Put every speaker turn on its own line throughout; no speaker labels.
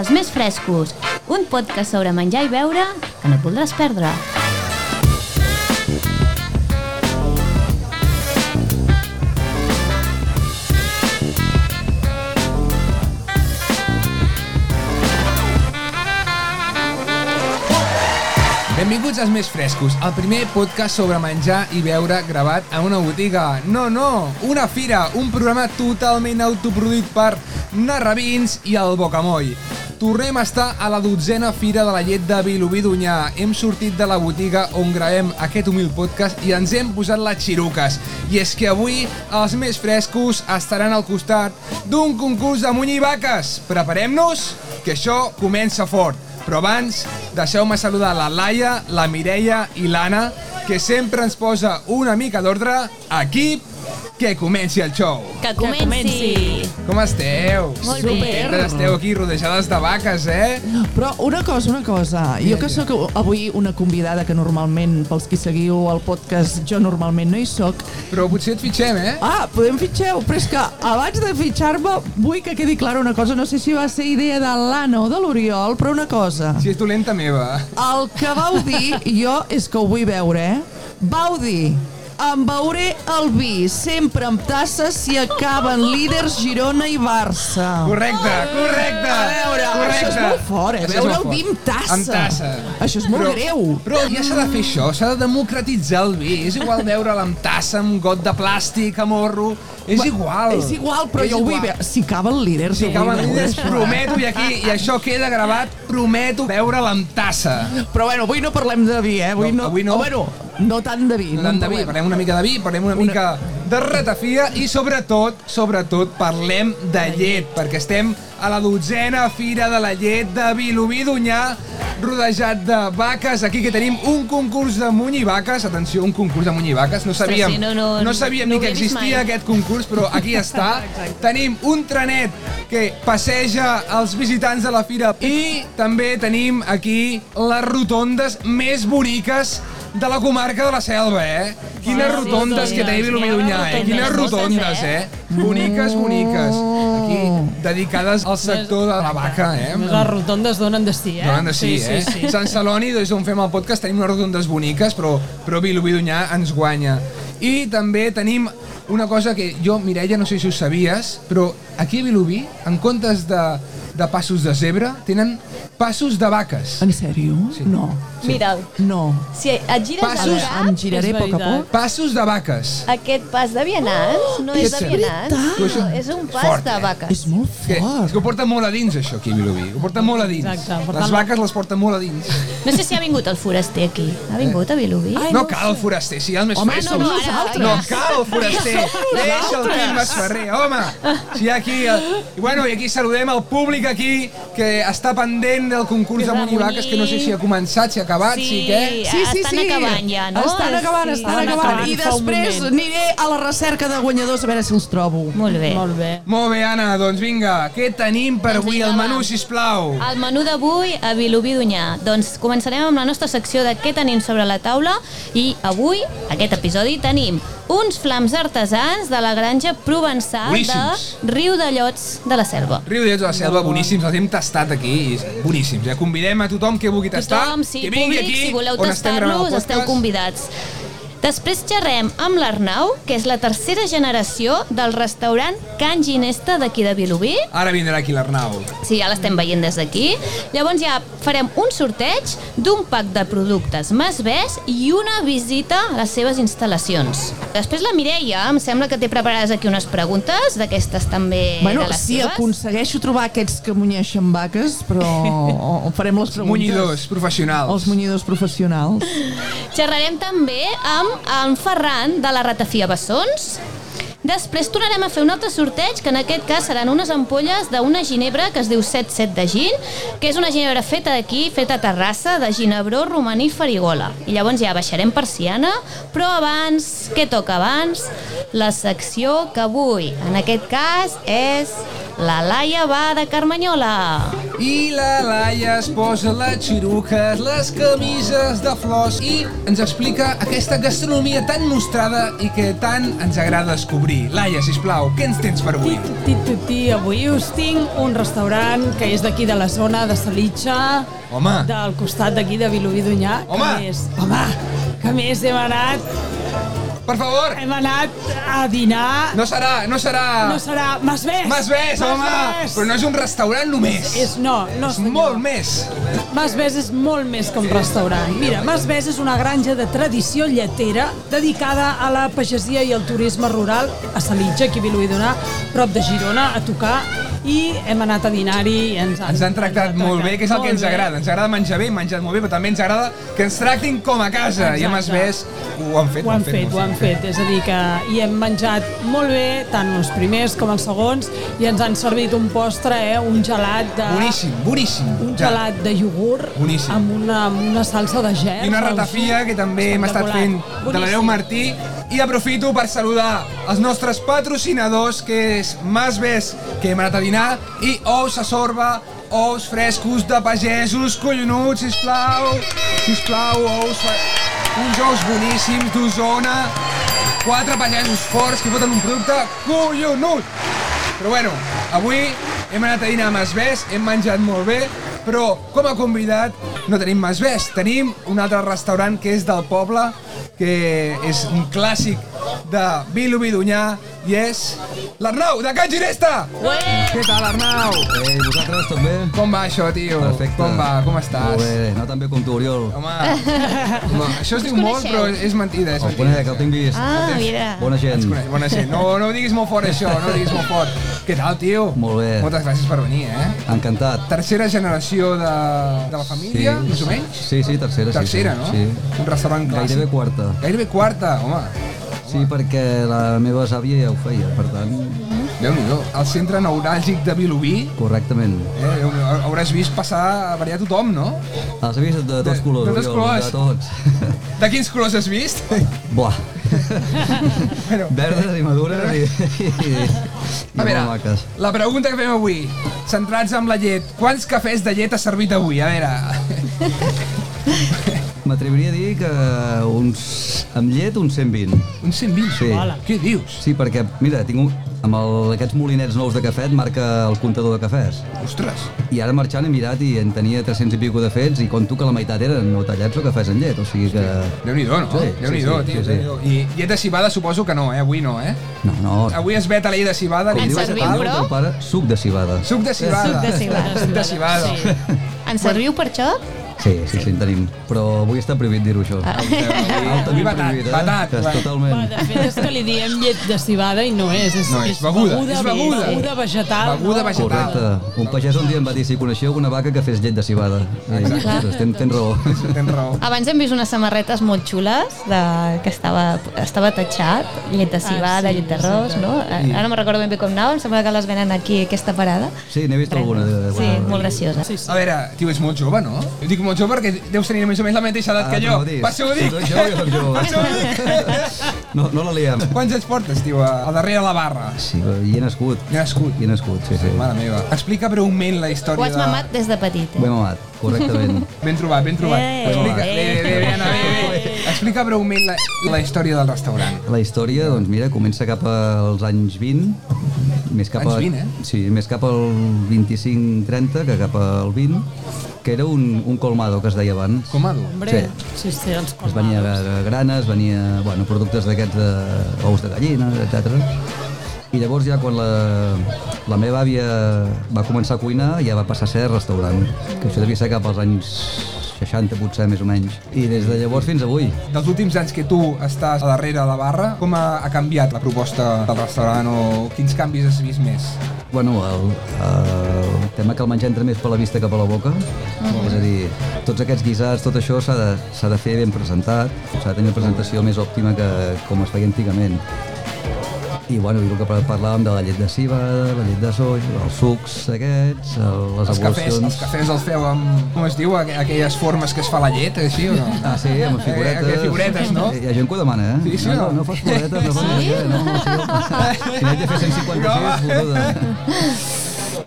Els més frescos, un podcast sobre menjar i beure que no et voldràs perdre.
Benvinguts als Més Frescos, el primer podcast sobre menjar i beure gravat a una botiga. No, no, una fira, un programa totalment autoproduït per Narrabins i el Bocamoll. Tornem a estar a la dotzena fira de la llet de Vilobí d'Unyà. Hem sortit de la botiga on gravem aquest humil podcast i ens hem posat les xiruques. I és que avui els més frescos estaran al costat d'un concurs de muny i vaques. Preparem-nos, que això comença fort. Però abans, deixeu-me saludar la Laia, la Mireia i l'Anna, que sempre ens posa una mica d'ordre aquí que comenci el show.
Que
comenci.
Com esteu?
Molt bé.
Sempre esteu aquí rodejades de vaques, eh?
Però una cosa, una cosa. Jo que sóc avui una convidada que normalment, pels qui seguiu el podcast, jo normalment no hi sóc.
Però potser et fitxem, eh?
Ah, podem fitxeu, però és que abans de fitxar-me vull que quedi clara una cosa. No sé si va ser idea de l'Anna o de l'Oriol, però una cosa.
Si és dolenta meva.
El que vau dir, jo és que ho vull veure, eh? Vau dir, em veuré el vi, sempre amb tasses si acaben líders Girona i Barça.
Correcte, correcte.
A veure,
correcte.
això és molt fort, eh?
Això és
Veure
molt
el vi amb
fort.
tassa.
Amb tassa.
Això és molt
però,
greu.
Però ja s'ha de fer això, s'ha de democratitzar el vi. És igual veure'l amb tassa, amb got de plàstic, a morro... És
Va,
igual.
És igual, però
És
jo ho vull
igual.
veure. Si caben líders,
Si
ho vull
acaben
veure.
líders, prometo, i aquí, i això queda gravat, prometo veure'l amb tassa.
Però bueno, avui no parlem de vi, eh? Avui
No,
no,
avui no.
O, bueno, no tant de vi.
No tant de vi, parlem una mica de vi, parlem una, mica de ratafia i sobretot, sobretot, parlem de llet, perquè estem a la dotzena fira de la llet de Vilobí d'Unyà, rodejat de vaques. Aquí que tenim un concurs de muny i vaques. Atenció, un concurs de muny i vaques. No sabíem,
sí, no, no,
no sabíem
no
ni que
ho havia vist
existia
mai.
aquest concurs, però aquí està. tenim un trenet que passeja els visitants de la fira i també tenim aquí les rotondes més boniques de la comarca de la Selva, eh? Quines
Ah, Sí, sí,
rotondes
sí,
que
sí.
té Vilobí-d'Unyà, eh?
Hi ha
Quines
rotondes, Oh.
rotondes, eh? Boniques, boniques. Aquí, dedicades al sector de la vaca, eh?
Més les rotondes donen de sí, eh?
Donen de sí, eh?
Sí, sí, sí.
Sant Celoni, des d'on fem el podcast, tenim unes rotondes boniques, però, però Vilobí d'Unyà ens guanya. I també tenim una cosa que jo, Mireia, no sé si ho sabies, però aquí a Vilobí, en comptes de, de passos de zebra, tenen passos de vaques.
En sèrio? Sí. No.
Sí. Mira'l,
No.
si et gires
Passos-
Passos.
Em
Ah,
el cap,
giraré
és
a poc a
veritat.
poc.
Passos de vaques.
aquest pas de vianants no és de
Oh, és
vianants,
veritat.
no, Ah, és un pas
Fort,
de
eh?
És
vaques.
molt
Que, és
fort.
que ho porten molt a dins, això, aquí a Vilobí. Ho porten molt a dins.
Exacte, per
les
tant-
vaques les porten molt a dins.
No sé si ha vingut el foraster aquí. Ha vingut a Vilobí?
Ah,
no, cal, foraster, si hi ha el més
Home,
fred,
no,
som
no,
nosaltres.
ara,
No
ara.
cal, foraster. Deixa el Quim Masferrer, home. Si hi ha aquí... eh, I bueno, i aquí saludem el públic aquí que està pendent del concurs
Que
de
és de
Munivaques, que no sé si ha començat, si ha acabat, si què...
estan acabant ja, no?
Estan acabant,
Sí.
estan acabant. I
fa un
després
moment.
aniré a la recerca de guanyadors a veure si els trobo.
Molt bé.
Molt bé.
Molt bé, Anna, doncs vinga, què tenim per avui al
Doncs vinga,
menú,
va.
sisplau?
El menú d'avui a Vilobí d'Unyà. Doncs començarem amb la nostra secció de què tenim sobre la taula i avui, aquest episodi, tenim uns flams artesans de la granja provençal
Boníssims.
de Riu de Llots de la Selva.
Riu de la Selva,
Oh.
boníssims, els hem tastat aquí, i boníssims. Ja convidem a tothom que vulgui tastar,
Tothom, sí,
que vingui
públic,
aquí,
si voleu
on estem gravant el
tastar-los, esteu
podcast.
convidats. Després xerrem amb l'Arnau, que és la tercera generació del restaurant Can Ginesta d'aquí de Vilobí.
Ara vindrà aquí l'Arnau.
Sí, ja l'estem veient des d'aquí. Llavors ja farem un sorteig d'un pack de productes Masbès i una visita a les seves instal·lacions. Després la Mireia, em sembla que té preparades aquí unes preguntes, d'aquestes també
Bueno,
de les
si
seves.
aconsegueixo trobar aquests que munyeixen vaques, però o- o farem les preguntes.
Munyidors professionals.
Els munyidors professionals.
Xerrarem també amb en Ferran de la Ratafia Bessons. Després tornarem a fer un altre sorteig, que en aquest cas seran unes ampolles d'una ginebra que es diu 77 de gin, que és una ginebra feta d'aquí, feta a Terrassa, de ginebró, romaní, farigola. I llavors ja baixarem persiana, però abans, què toca abans? La secció que avui, en aquest cas, és La Laia va de Carmanyola.
I la Laia es posa les xiruques, les camises de flors i ens explica aquesta gastronomia tan mostrada i que tant ens agrada descobrir. Laia, sisplau, què ens tens per avui?
Ti, ti, ti, avui us tinc un restaurant que és d'aquí de la zona de Salitja,
Home,
del costat d'aquí de Vilobí d'Unyà.
Ah. Home!
Que més, home, que més hem anat,
per favor,
hem anat a dinar.
no serà, no serà...
No serà Masbès.
Masbès, home! Però no és un restaurant només.
És, no, no,
És
senyor.
molt més.
Masbès és molt més que un restaurant. Mira, Masbès és una granja de tradició lletera dedicada a la pagesia i al turisme rural a Salitja, aquí a Viloïdona, prop de Girona, a tocar i hem anat a dinar-hi i ens han,
Ens han tractat molt bé, que és el que ens
molt bé.
agrada. Ens agrada menjar bé, menjar molt bé, però també ens agrada que ens tractin com a casa. I a
Exacte.
Masbès ho han fet.
Ho han fet,
molt
ho han fet. És a dir, que hi hem menjat molt bé, tant els primers com els segons, i ens han servit un postre, eh, un gelat de...
Boníssim, boníssim.
Un
Ja.
gelat de iogurt
Boníssim.
amb una, amb una salsa de gel.
i una ratafia que també hem estat fent de l'Areu Martí i aprofito per saludar els nostres patrocinadors que és Mas Ves, que hem anat a dinar i Ous a Sorba ous frescos de pagesos collonuts, sisplau sisplau, ous fa- uns ous boníssims d'Osona quatre pagesos forts que foten un producte collonut però bueno, avui hem anat a dinar a Masbès, hem menjat molt bé, però com a convidat no tenim Masbès, tenim un altre restaurant que és del poble, que és un clàssic de Vilobí d'Unyà, i és l'Arnau, de Can Ginesta! Ué! Què tal, Arnau?
Ei, Eh, vosaltres tot bé?
Com va això, tio?
Perfecte.
Com va? Com estàs?
Molt bé, no tan bé com tu, Oriol.
Home, home, això es diu molt, però és mentida, és
El conec,
mentida.
el tinc vist.
Ah, mira.
Bona gent.
Ens coneix, bona gent. No, no ho diguis molt fort, això, no ho diguis molt fort. Què tal, tio?
Molt bé.
Moltes gràcies per venir, eh?
Encantat.
tercera generació de, de la família, sí. més o menys?
Sí, sí, tercera. sí,
Tercera,
sí,
no?
Sí.
Un restaurant clàssic.
Gairebé quarta.
Gairebé quarta, home.
Sí, perquè la meva sàvia ja ho feia, per tant,
Déu-n'hi-do. El centre neuràlgic de Vilobí,
correctament.
eh, déu nhi hauràs vist passar a variar tothom, no?
Els he vist de
De-
tots colors,
de tots
Oriol,
colors.
de tots.
De quins colors has vist?
Buah,
bueno,
verdes i madures i, i, i, i
a
molt
veure,
maques.
la pregunta que fem avui, centrats amb la llet, quants cafès de llet has servit avui? A veure,
M'atreviria a dir que uns, amb llet uns 120.
uns 120.
Sí.
Hola.
Què dius?
Sí, perquè, mira, tinc un, amb el, aquests molinets nous de cafè et marca el comptador de cafès.
Ostres.
I ara marxant he mirat i en tenia 300 i pico de fets i conto que la meitat eren no tallats o cafès amb llet, o sigui que...
Déu-n'hi-do, no?
Sí,
Déu-n'hi-do,
sí, sí,
tio,
sí, sí.
Déu-n'hi-do. I llet de cibada suposo que no, eh? Avui no, eh?
No, no.
Avui es veta la llei de cibada.
Ah. Com
ni
Ens
diu
de
el
serviu,
tal.
teu
però?
pare, suc de cibada.
Suc de
Suc
cibada.
de cibada.
Suc de cibada.
Sí.
Ens serviu per això?
Sí, sí, sí, en tenim. Però avui està prohibit dir-ho, això.
Ah.
eh?
Avui batat, batat.
Que és
Bueno,
totalment...
de fet, és que li diem llet de cibada i no és. És,
No, és beguda, és beguda.
beguda vegetal.
Beguda
no?
vegetal.
Correcte. Un pagès un dia em va dir si coneixeu una vaca que fes llet de cibada.
Exacte.
Ostres, tens, tens raó.
Tens raó.
Abans hem vist unes samarretes molt xules de, que estava, estava tatxat, llet de cibada,
Ah, sí,
llet d'arròs, no? Eh, Ara no me recordo ben bé com anava, em sembla que les venen aquí a aquesta parada.
Sí, n'he vist alguna.
Eh,
De, de,
Sí, molt graciosa.
Sí, sí.
A veure, tio, és molt jove, no? Jo dic molt jove perquè deus tenir més o menys la mateixa edat
Ah,
que
tu
jo.
no dius.
Per això ho dic.
Tu ets jove, jo sóc jove.
Per això ho dic.
No, no la liem.
Quants anys portes, tio, a, a darrere la barra?
Sí, hi he nascut.
Hi he nascut.
Hi he nascut, sí, sí.
Mare meva. Explica breument la història
Ho has
de...
mamat des de petit,
Ho
eh?
hem amat, correctament.
Ben trobat, ben trobat.
Eh,
Explica...
eh.
Bé, bé, bé, Anna, bé, bé. Explica breument la, la història del restaurant.
La història, doncs mira, comença cap als anys 20, més cap
Anys
a,
20, eh?
Sí, més cap al 25-30 que cap al 20, que era un, un colmado que es deia abans.
Comado.
Hombre,
Sí.
sí, sí, els
Es Doncs venia
colmados.
gra- granes, venia bueno, productes d'aquests de ous de gallina, etc. I llavors ja quan la, la meva àvia va començar a cuinar ja va passar a ser restaurant, que això devia ser cap als anys 60 potser més o menys. I des de llavors fins avui.
Dels últims anys que tu estàs a darrere de la barra, com ha, ha canviat la proposta del restaurant o quins canvis has vist més?
Bueno, el, el tema que el menjar entra més per la vista que per la boca, és a dir, tots aquests guisats, tot això s'ha de, s'ha de fer ben presentat, s'ha de tenir una presentació més òptima que com es feia antigament. I bueno, i el que parlàvem de la llet de cibada, la llet de soja, els sucs aquests, el, les
Els cafès, els
evolucions...
cafès els feu amb, com es diu, aqu- aquelles formes que es fa la llet, així o no?
Ah, sí, amb
Eh,
figuretes.
aquelles figuretes, no?
Hi ha gent que ho demana, eh?
Sí, sí,
no,
o no?
no, no fas figuretes, no fas no, no, no, no, no, no, no, no, no, no, no, no, no,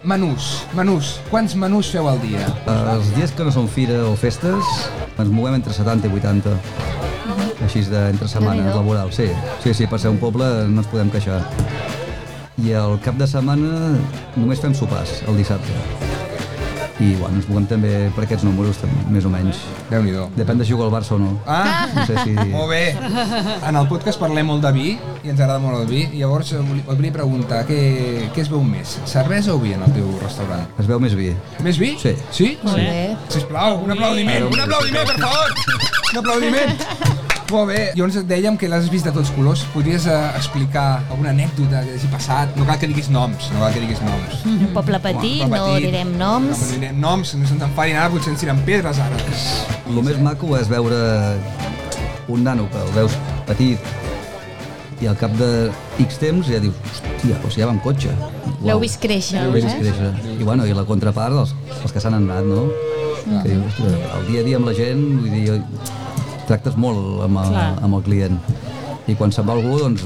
menús, menús. Quants menús feu al dia?
Eh, Els dies que no són fira o festes ens movem entre 70 i 80. Així de, entre setmanes laboral, sí. Sí, sí, per ser un poble no ens podem queixar. I al cap de setmana només fem sopars, el dissabte. I bueno, ens movem també per aquests números, tam- més o menys.
Déu-n'hi-do.
Depèn de si juga al Barça o no.
Ah,
No sé si...
molt bé. En el podcast parlem molt de vi i ens agrada molt el vi. Llavors, eh, voli- et volia preguntar, què, què es veu més? Cervesa o vi en el teu restaurant?
Es veu més vi.
Més vi?
Sí.
Sí?
Molt bé.
Sisplau, un aplaudiment, un aplaudiment, per favor! Un aplaudiment! Molt bé, llavors et dèiem que l'has vist de tots colors. Podries eh, explicar alguna anècdota que hagi passat? No cal que diguis noms, no cal que diguis noms.
Un poble petit,
Poble
no
petit.
direm noms.
No direm noms, no se'ns enfadin ara, potser ens tiren pedres ara.
El més maco és veure un nano que el veus petit i al cap de X temps ja dius, hòstia, doncs ja va amb cotxe.
L'heu
Uau.
vist créixer,
L'heu vist
eh?
créixer. I, bueno, I la contrapart, els, els que s'han anat, no?
Mm.
Que dius, "Ostres, el dia a dia amb la gent, vull dir, tractes molt amb el,
Clar.
amb el client. I quan se'n va algú, doncs,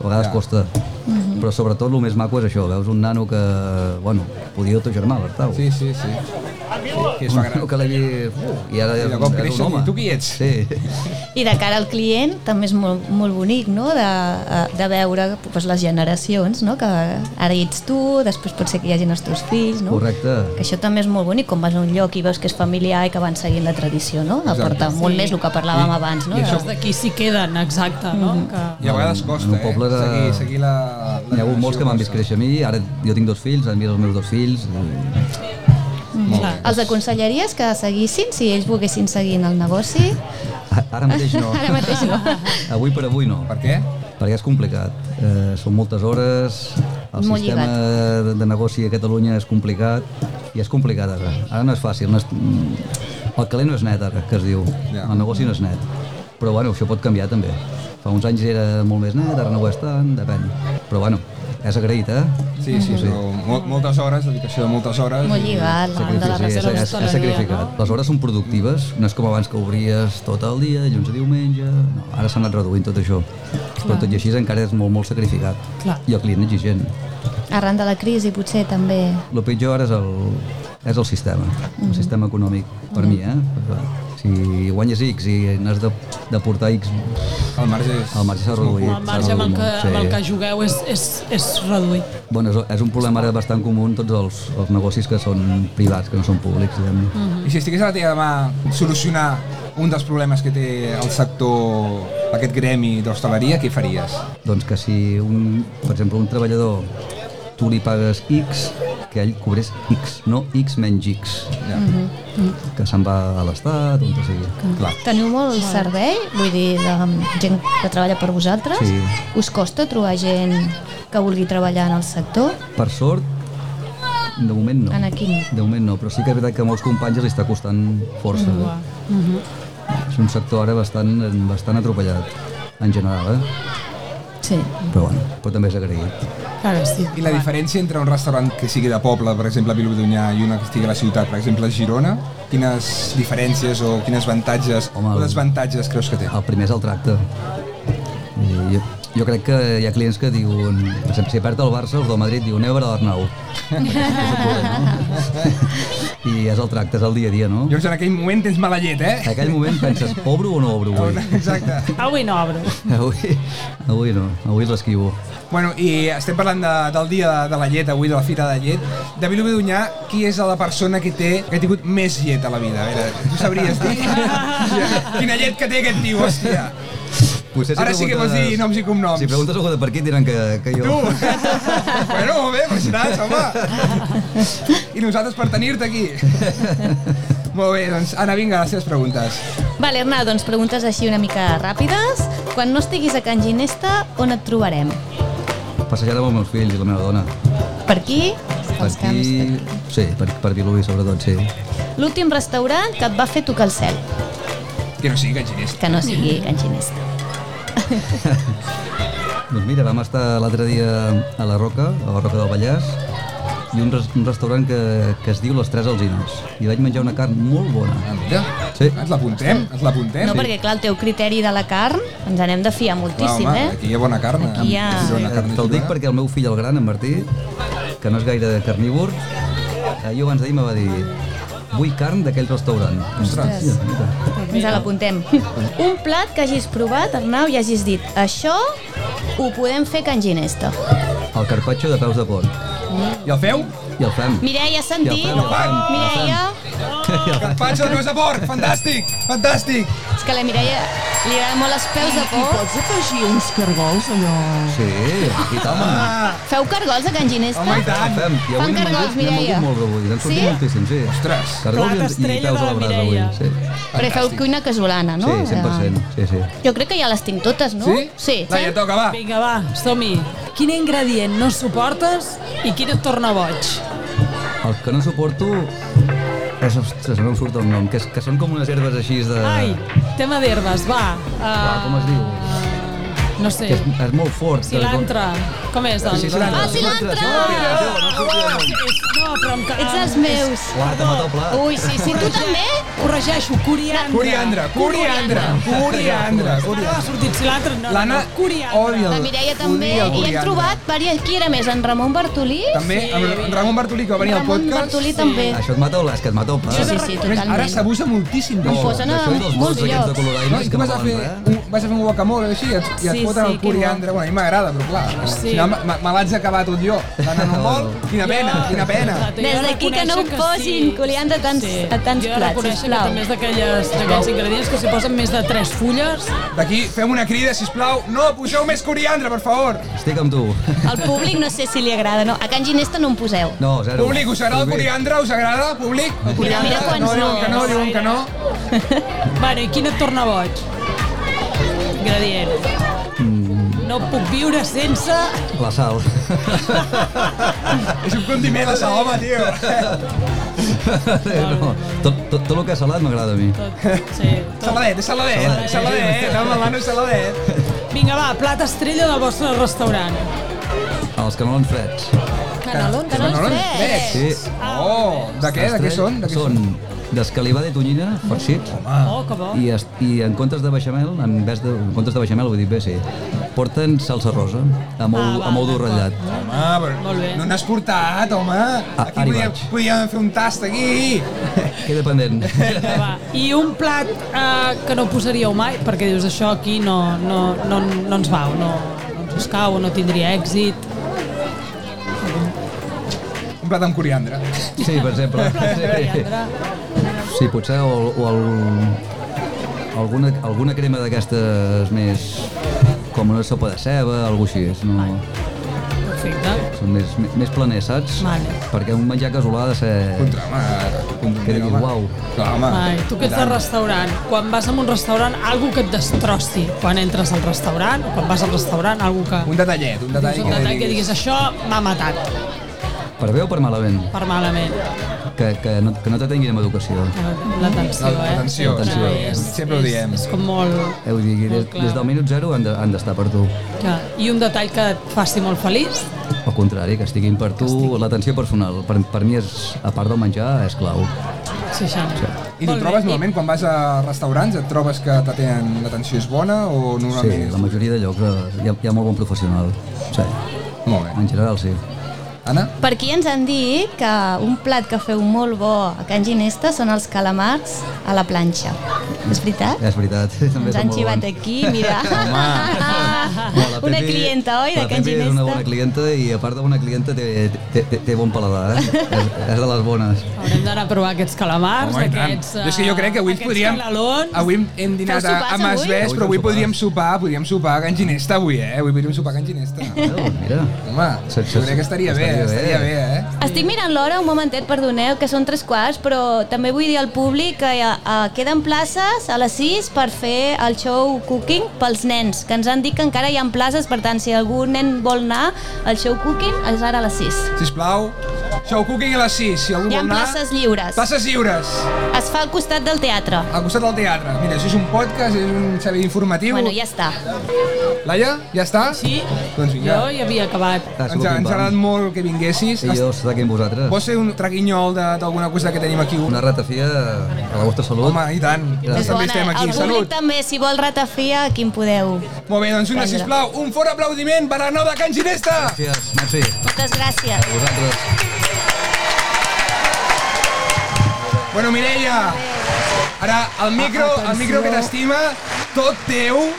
a vegades
Ja.
costa.
Mm-hmm.
Però sobretot el més maco és això, veus un nano que, bueno, podia el teu germà, l'Artau.
Sí, sí, sí. Que es
Un
fa gran.
nano que l'he vist... I ara
I de cop creixen i tu qui ets?
Sí.
I de cara al client també és molt, molt bonic, no?, de, eh, de veure doncs, les generacions, no?, que ara hi ets tu, després pot ser que hi hagin els teus fills, no?
Correcte.
Que això també és molt bonic, quan vas a un lloc i veus que és familiar i que van seguint la tradició, no?
Exacte.
Aporta molt
Sí.
més el que parlàvem abans, no?
I això-
Els d'aquí s'hi queden, exacte, no?
Mm-hmm.
I a vegades costa,
En un poble
eh?
de-
Seguir, seguir la... la
Hi ha hagut molts que m'han vist
generació
créixer a mi, ara jo tinc dos fills, han vist els meus dos fills, i
costa. Molt
Clar.
bé.
Els aconsellaries que seguissin, si ells volguessin seguir en el negoci?
a- ara mateix no.
Ara mateix no.
Avui per avui no,
Per què?
perquè és complicat. Eh, són moltes hores, el
Molt
sistema de, de negoci a Catalunya és complicat, i és complicat ara. Ara no és fàcil, no és, mm, el calent no és net ara, que es diu,
Ja.
el negoci no és net. Però bueno, això pot canviar també. Fa uns anys era molt més net, ara no ho és tant, depèn. Però bueno, és agraït, eh?
Sí, sí, sí. Mol, moltes hores, dedicació de moltes hores.
Molt lligat, la banda de la
Sacrifici, és,
reserva.
és, és sacrificat. Les hores són productives, no és com abans que obries tot el dia, dilluns a diumenge... No, ara s'ha anat reduint tot això. Però tot i així encara és molt, molt sacrificat.
Clar.
I el client exigent.
Arran de la crisi, potser, també.
El pitjor és el, és el sistema, el sistema econòmic, per mi, eh? Si guanyes X i n'has de, de portar X,
El marge és...
el marge s'ha reduït.
El marge amb el que, amb el que jugueu és, és, és reduït.
Bueno, és, és un problema ara bastant comú en tots els, els negocis que són privats, que no són públics, diguem-ne.
I si estigués a la teva mà solucionar un dels problemes que té el sector, aquest gremi d'hostaleria, què faries?
Doncs que si, un, per exemple, un treballador tu li pagues X, que ell cobrés X, no X menys X,
Ja. Mm -hmm.
que se'n va a l'estat, on sigui.
Clar.
Teniu molt servei? Vull dir, de gent que treballa per vosaltres?
Sí.
Us costa trobar gent que vulgui treballar en el sector?
Per sort, de moment no.
En aquí no.
De moment no, però sí que és veritat que a molts companys els està costant força. eh?
Mhm.
És un sector ara bastant, bastant atropellat, en general, eh?
Sí.
Però bueno, però també és agraït.
Clar, que sí.
I la diferència entre un restaurant que sigui de poble, per exemple, a Vilobidonyà, i una que estigui a la ciutat, per exemple, a Girona, quines diferències o quines avantatges
Home,
o
el-
desavantatges creus que té?
El primer és el tracte. I jo, jo crec que hi ha clients que diuen, per exemple, si perd el Barça, els del Madrid diuen, anem a veure l'Arnau. I és el tracte, és el dia a dia, no?
Llavors, en aquell moment tens mala llet,
En
eh?
aquell moment penses, obro o no obro avui?
Exacte.
Avui no Ah, obro.
Avui, avui no, avui l'esquivo.
Bueno, i estem parlant de, del dia de, de la llet, avui, de la fira de llet. De Vilobidonyà, qui és la persona que té que ha tingut més llet a la vida? A veure, tu sabries dir? Quina llet que té aquest tio, hòstia!
Potser
Ara sí que vols
preguntes-
dir noms i cognoms.
Si preguntes algú de per què et diran que, que
Tu!
jo...
bueno, molt bé, però si n'has, home! I nosaltres per tenir-te aquí. Molt bé, doncs, Anna, vinga, les teves preguntes.
Vale, Arnau, doncs preguntes així una mica ràpides. Quan no estiguis a Can Ginesta, on et trobarem?
Passejada amb els meus fills i la meva dona.
Per aquí?
Per
Pels camps, per
aquí... Sí, per, per Vilobí, sobretot, sí.
aquí. L'últim restaurant que et va fer tocar el cel,
Que no sigui canginista.
que no sigui Can Ginesta.
Doncs mira, vam estar l'altre dia a la Roca, a la Roca del Vallès, i un, res, un restaurant que, que es diu Les Tres Alzines. I vaig menjar una carn molt
Ah,
bona.
mira,
Sí.
ens l'apuntem, ens l'apuntem.
No, perquè clar, el teu criteri de la carn ens anem de fiar
Clar,
moltíssim,
home,
eh?
aquí hi ha bona carn.
Aquí hi ha-
Girona, carn de
Eh, Te'l dic
Girona.
perquè el meu fill, el gran, en Martí, que no és gaire carnívor, ahir o abans d'ahir me va dir vull carn d'aquell restaurant. Ostres. Ja, mira.
Ens l'apuntem. Un plat que hagis provat, Arnau, i hagis dit això ho podem fer can ginesta.
El carpaccio de peus de porc.
I el feu?
I el fem.
Mireia, has sentit?
I el fem, i el fem, i el fem.
Mireia,
I el fem.
Carpaccio de peus de porc! Fantàstic! Fantàstic!
és que a la Mireia li agraden molt els peus de
I
porc.
pots afegir uns cargols, allò...
Sí, i tant.
Ah,
Feu cargols a can ginesta?
home, i
El
tant!
fem. I avui
Fan
n'hem
cargols,
vengut- n'hem
Mireia.
vengut molt avui. N'hem sortit
Sí?
moltíssim, sí.
Ostres!
Cargols
Plat
i- i,
estrella de
peus a
la
la brasa avui.
Mireia.
Sí.
Però feu cuina casolana, no?
sí, 100%. Sí, sí.
Jo crec que ja les tinc totes, no?
Sí?
Sí.
Va, ja toca, va.
Vinga, va, som-hi. Quin ingredient no suportes i quin et torna boig?
El que no suporto és, ostres, no em surt el nom, que, és, que són com unes herbes així de...
Ai, tema d'herbes, va.
Uah, Eh. com
Uh,
es diu?
no sé,
Que és, és molt fort. que-
cilantre. Com és? doncs? El...
Cilantre.
Ah, cilantre!
Ah,
cilantre!
No, però amb...
Ets dels meus.
Guarda, mata el plat.
Ui, sí, sí, tu també?
Corregeixo, coriandre.
Coriandre, coriandre, coriandre,
Ara
coriandre.
ha sortit cilantre. No, no,
L'Anna
no, coriandre.
odia
La Mireia Ah, també.
Odia el
I hem
coriandre.
trobat, varies- qui era més? En Ramon Bartolí?
També, amb Ramon Bartolí, que va venir al
Ramon
podcast.
Bartolí també.
Això et mata el, és que et mata el plat.
Sí, sí, sí,
A més, ara
totalment.
s'abusa moltíssim
Em
d'això.
posa- Posen a
D'això i dels
molts
molts aquests de
llocs.
No, i
coloraines
tu
que
vas
no
a fer,
valen res.
un, vas a fer un guacamole així i et, i et
Sí,
foten
sí,
el
que
coriandre. Bueno, a mi m'agrada, però clar, al
Sí.
final me- me me l'haig d'acabar tot jo. D'anar no vol, quina pena, quina pena.
Exacte, jo
Des d'aquí que no
reconec
em posin coliandre a tants- a tants
jo he de
plats,
reconèixer
sisplau.
que també és d'aquelles- d'aquells ingredients que s'hi posen més de tres fulles.
D'aquí fem una crida, si plau. No, poseu més coriandre, per favor.
eh? Estic amb tu.
Al públic no sé si li agrada, no? A Can Ginesta no en poseu.
No, zero.
Públic, us agrada el coriandre? Us agrada, públic? El
Mira, mira
coriandre?
quants
No, diuen que no,
no.
diuen que no.
Bueno, i quin et torna boig? Ingredient.
Mm.
No puc viure sense...
La sal.
És un condiment de sal, home, tio.
no. Tot, tot, tot el que és salat m'agrada a mi.
Tot, sí, tot.
Saladet, és saladet,
Saladet.
saladet. No, no, no, és saladet.
Vinga, va, plat estrella del vostre restaurant.
Els canelons freds.
Doncs
Canelons.
Canelons freds.
Sí.
Oh, de què? De què són? De què són? Ah.
són? d'escalivada i tonyina, farcits.
Oh, que bo.
I, es, I en comptes de beixamel, en, ves de, en comptes de beixamel, vull dir, bé, sí, porten salsa rosa amb
Ah,
ou,
va,
amb ou dur
d'acord.
ratllat.
Home, però
Molt bé.
no n'has portat, home. Aquí
Ah, ara hi
podíem,
vaig.
podíem fer un tast, aquí.
Queda pendent.
Vinga, va. I un plat eh, que no posaríeu mai, perquè dius això aquí no, no, no, no ens va, o no, no ens escau, o no tindria èxit.
Un plat amb coriandre.
Sí, per exemple. Sí,
Coriandre.
sí potser o, o el, alguna, alguna crema d'aquestes més com una sopa de ceba, alguna cosa així. No,
Perfecte.
són més, més planers, saps?
Vale.
Perquè un menjar casolà ha de ser...
Contra, home.
Que diguis,
home.
uau.
Clar, home.
Ai, tu que ets de restaurant, quan vas a un restaurant, algú que et destrossi quan entres al restaurant, o quan vas al restaurant, algú que...
Un detallet, un detall.
Dius un detall que diguis, això m'ha matat,
Per bé o per malament?
per malament.
Que, que no, que no t'atenguin amb educació.
L'atenció, eh?
Atenció,
Atenció.
atenció.
És-
Sempre ho
és-
diem.
És com molt...
Eh, vull dir, des,
Molt clar.
des del minut zero han de- han d'estar per tu.
Clar. I un detall que et faci molt feliç,
Al contrari, que estiguin per tu, l'atenció personal. Per, per mi, és, a part del menjar, és clau.
sí, Xana.
I tu
Molt bé.
trobes normalment quan vas a restaurants, et trobes que t'atenen l'atenció és bona o
Sí,
normalment...
la majoria de llocs eh, hi ha, hi ha molt bon professional. Sí,
Molt bé.
en general sí.
Anna?
Per aquí ens han dit que un plat que feu molt bo a Can Ginesta són els calamars a la planxa. És veritat?
És veritat. També
Ens
són
han
molt
xivat
bons.
aquí, mira.
Bueno, la
Una
Pepi-
clienta, oi, de
la
Can
Pepi és una bona
Ginesta?
clienta i a part de bona clienta té, té, té, té bon paladar, eh? és, és de les bones.
Haurem d'anar a provar aquests calamars,
Home, i tant.
aquests...
Jo és que jo crec que avui
eh,
aquests
podríem...
canelons.
Avui hem- hem dinat
eh, Feu
a,
sopars,
a Mas
avui?
Ves,
Avui
però avui
fem
podríem
sopars.
sopar, podríem sopar a Can Ginesta avui, eh? Avui podríem sopar a Can Ginesta.
Déu, Eh, doncs mira.
Home,
Sí, sí,
jo crec que estaria bé,
estaria bé.
estaria bé, eh?
Estic mirant l'hora, un momentet, perdoneu, que són tres quarts, però també vull dir al públic que eh, queden places a les 6 per fer el show cooking pels nens, que ens han dit que encara hi ha places, per tant, si algun nen vol anar al show cooking, és ara a les 6.
Sisplau, Show Cooking a les 6, si algú
Hi ha
vol anar...
places lliures.
Places lliures,
Es fa al costat del teatre.
al costat del teatre. Mira, això és un podcast, és un servei informatiu.
Bueno, ja està.
Laia, ja està?
Sí,
Doncs vinga.
jo ja havia acabat.
Ah,
Ens,
sóc
ens ha
un
agradat
bam.
molt que vinguessis.
I jo estic aquí amb vosaltres.
Vols ser un traguinyol de- d'alguna cosa que tenim aquí?
Una ratafia a la vostra salut.
Home, i tant. Nosaltres
És
Doncs també
bona,
estem aquí.
El públic
Salut.
també, si vol ratafia, aquí en podeu.
Molt bé, doncs una, sisplau, un fort aplaudiment per a Nau de Can Ginesta.
Gràcies, merci.
Moltes gràcies.
A vosaltres.
Bueno, Mireia, ara el micro, el micro que t'estima, tot teu.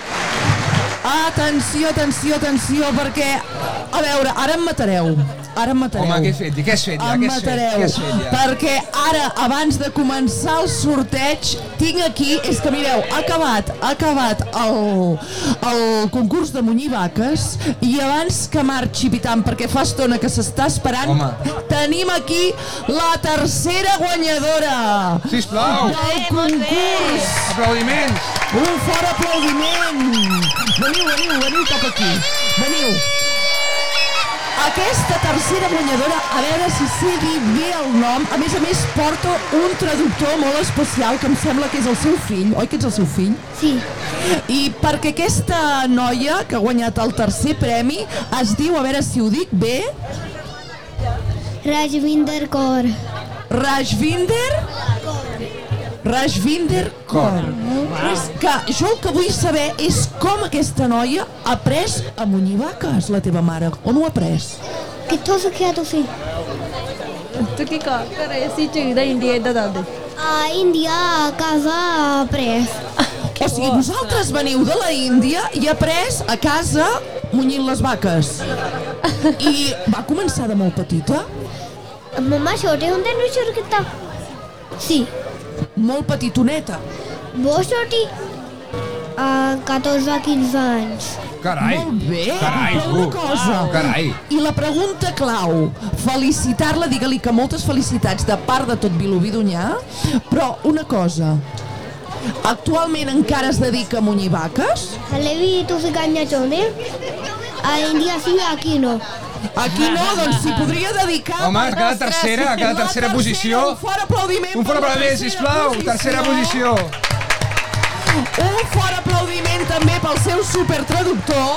Atenció, atenció, atenció, perquè... A veure, ara em matareu. Ara em matareu.
Home, què has fet? ja? Què has fet ja?
Em
Què has fet?
matareu,
Què has fet ja?
perquè ara, abans de començar el sorteig, tinc aquí, és que mireu, ha acabat, ha acabat el, el concurs de munyir vaques i abans que marxi Pitam, perquè fa estona que s'està esperant,
Home.
tenim aquí la tercera guanyadora
Sisplau,
del
Bé, molt bé.
concurs.
aplaudiments.
Un fort aplaudiment! Veniu, veniu, veniu cap aquí. Veniu. Aquesta tercera guanyadora, a veure si sé dir bé el nom, a més a més porta un traductor molt especial que em sembla que és el seu fill, oi que és el seu fill?
Sí,
I perquè aquesta noia que ha guanyat el tercer premi es diu, a veure si ho dic bé,
Rajvinder Kaur.
Rajvinder Rajvinder Kaur. És que jo el que vull saber és com aquesta noia ha après a munyir vaques, la teva mare. On ho ha après?
ਕਿੱਥੋਂ ਸਿੱਖਿਆ ਤੁਸੀਂ
ਤੁਸੀਂ ਕਾ ਕਰੇ ਸੀ ਚਾਹੀਦਾ India ਦਾ ਦੱਸ
ਆ ਇੰਡੀਆ ਕਾਜ਼ਾ ਪ੍ਰੈਸ
O sigui, vosaltres veniu de la Índia i ha après a casa munyint les vaques. I va començar de molt petita,
ਮੰਮਾ ਛੋਟੇ ਹੁੰਦੇ ਨੂੰ ਸ਼ੁਰੂ ਕੀਤਾ ਸੀ
molt petitoneta,
ਬਹੁਤ ਛੋਟੀ ਆ 14 15 anys
Carai.
Molt bé.
Carai, uh.
Però una
tu.
cosa.
Carai.
I la pregunta clau, felicitar-la, digue-li que moltes felicitats de part de tot Vilobí d'Unyà, però una cosa, actualment encara es dedica a munyir vaques?
ਹਲੇ ਵੀ ਤੁਸੀਂ ਗਾਣਾ ਚਾਹੁੰਦੇ ਆ India ਸੀ aquí no
Aquí no, doncs s'hi podria dedicar...
Home,
per
ha quedat
nostres-
tercera, ha quedat
La
tercera posició.
Un fort aplaudiment.
Un fort
per la
aplaudiment,
tercera
sisplau. Tercera posició.
Un fort aplaudiment també pel seu supertraductor,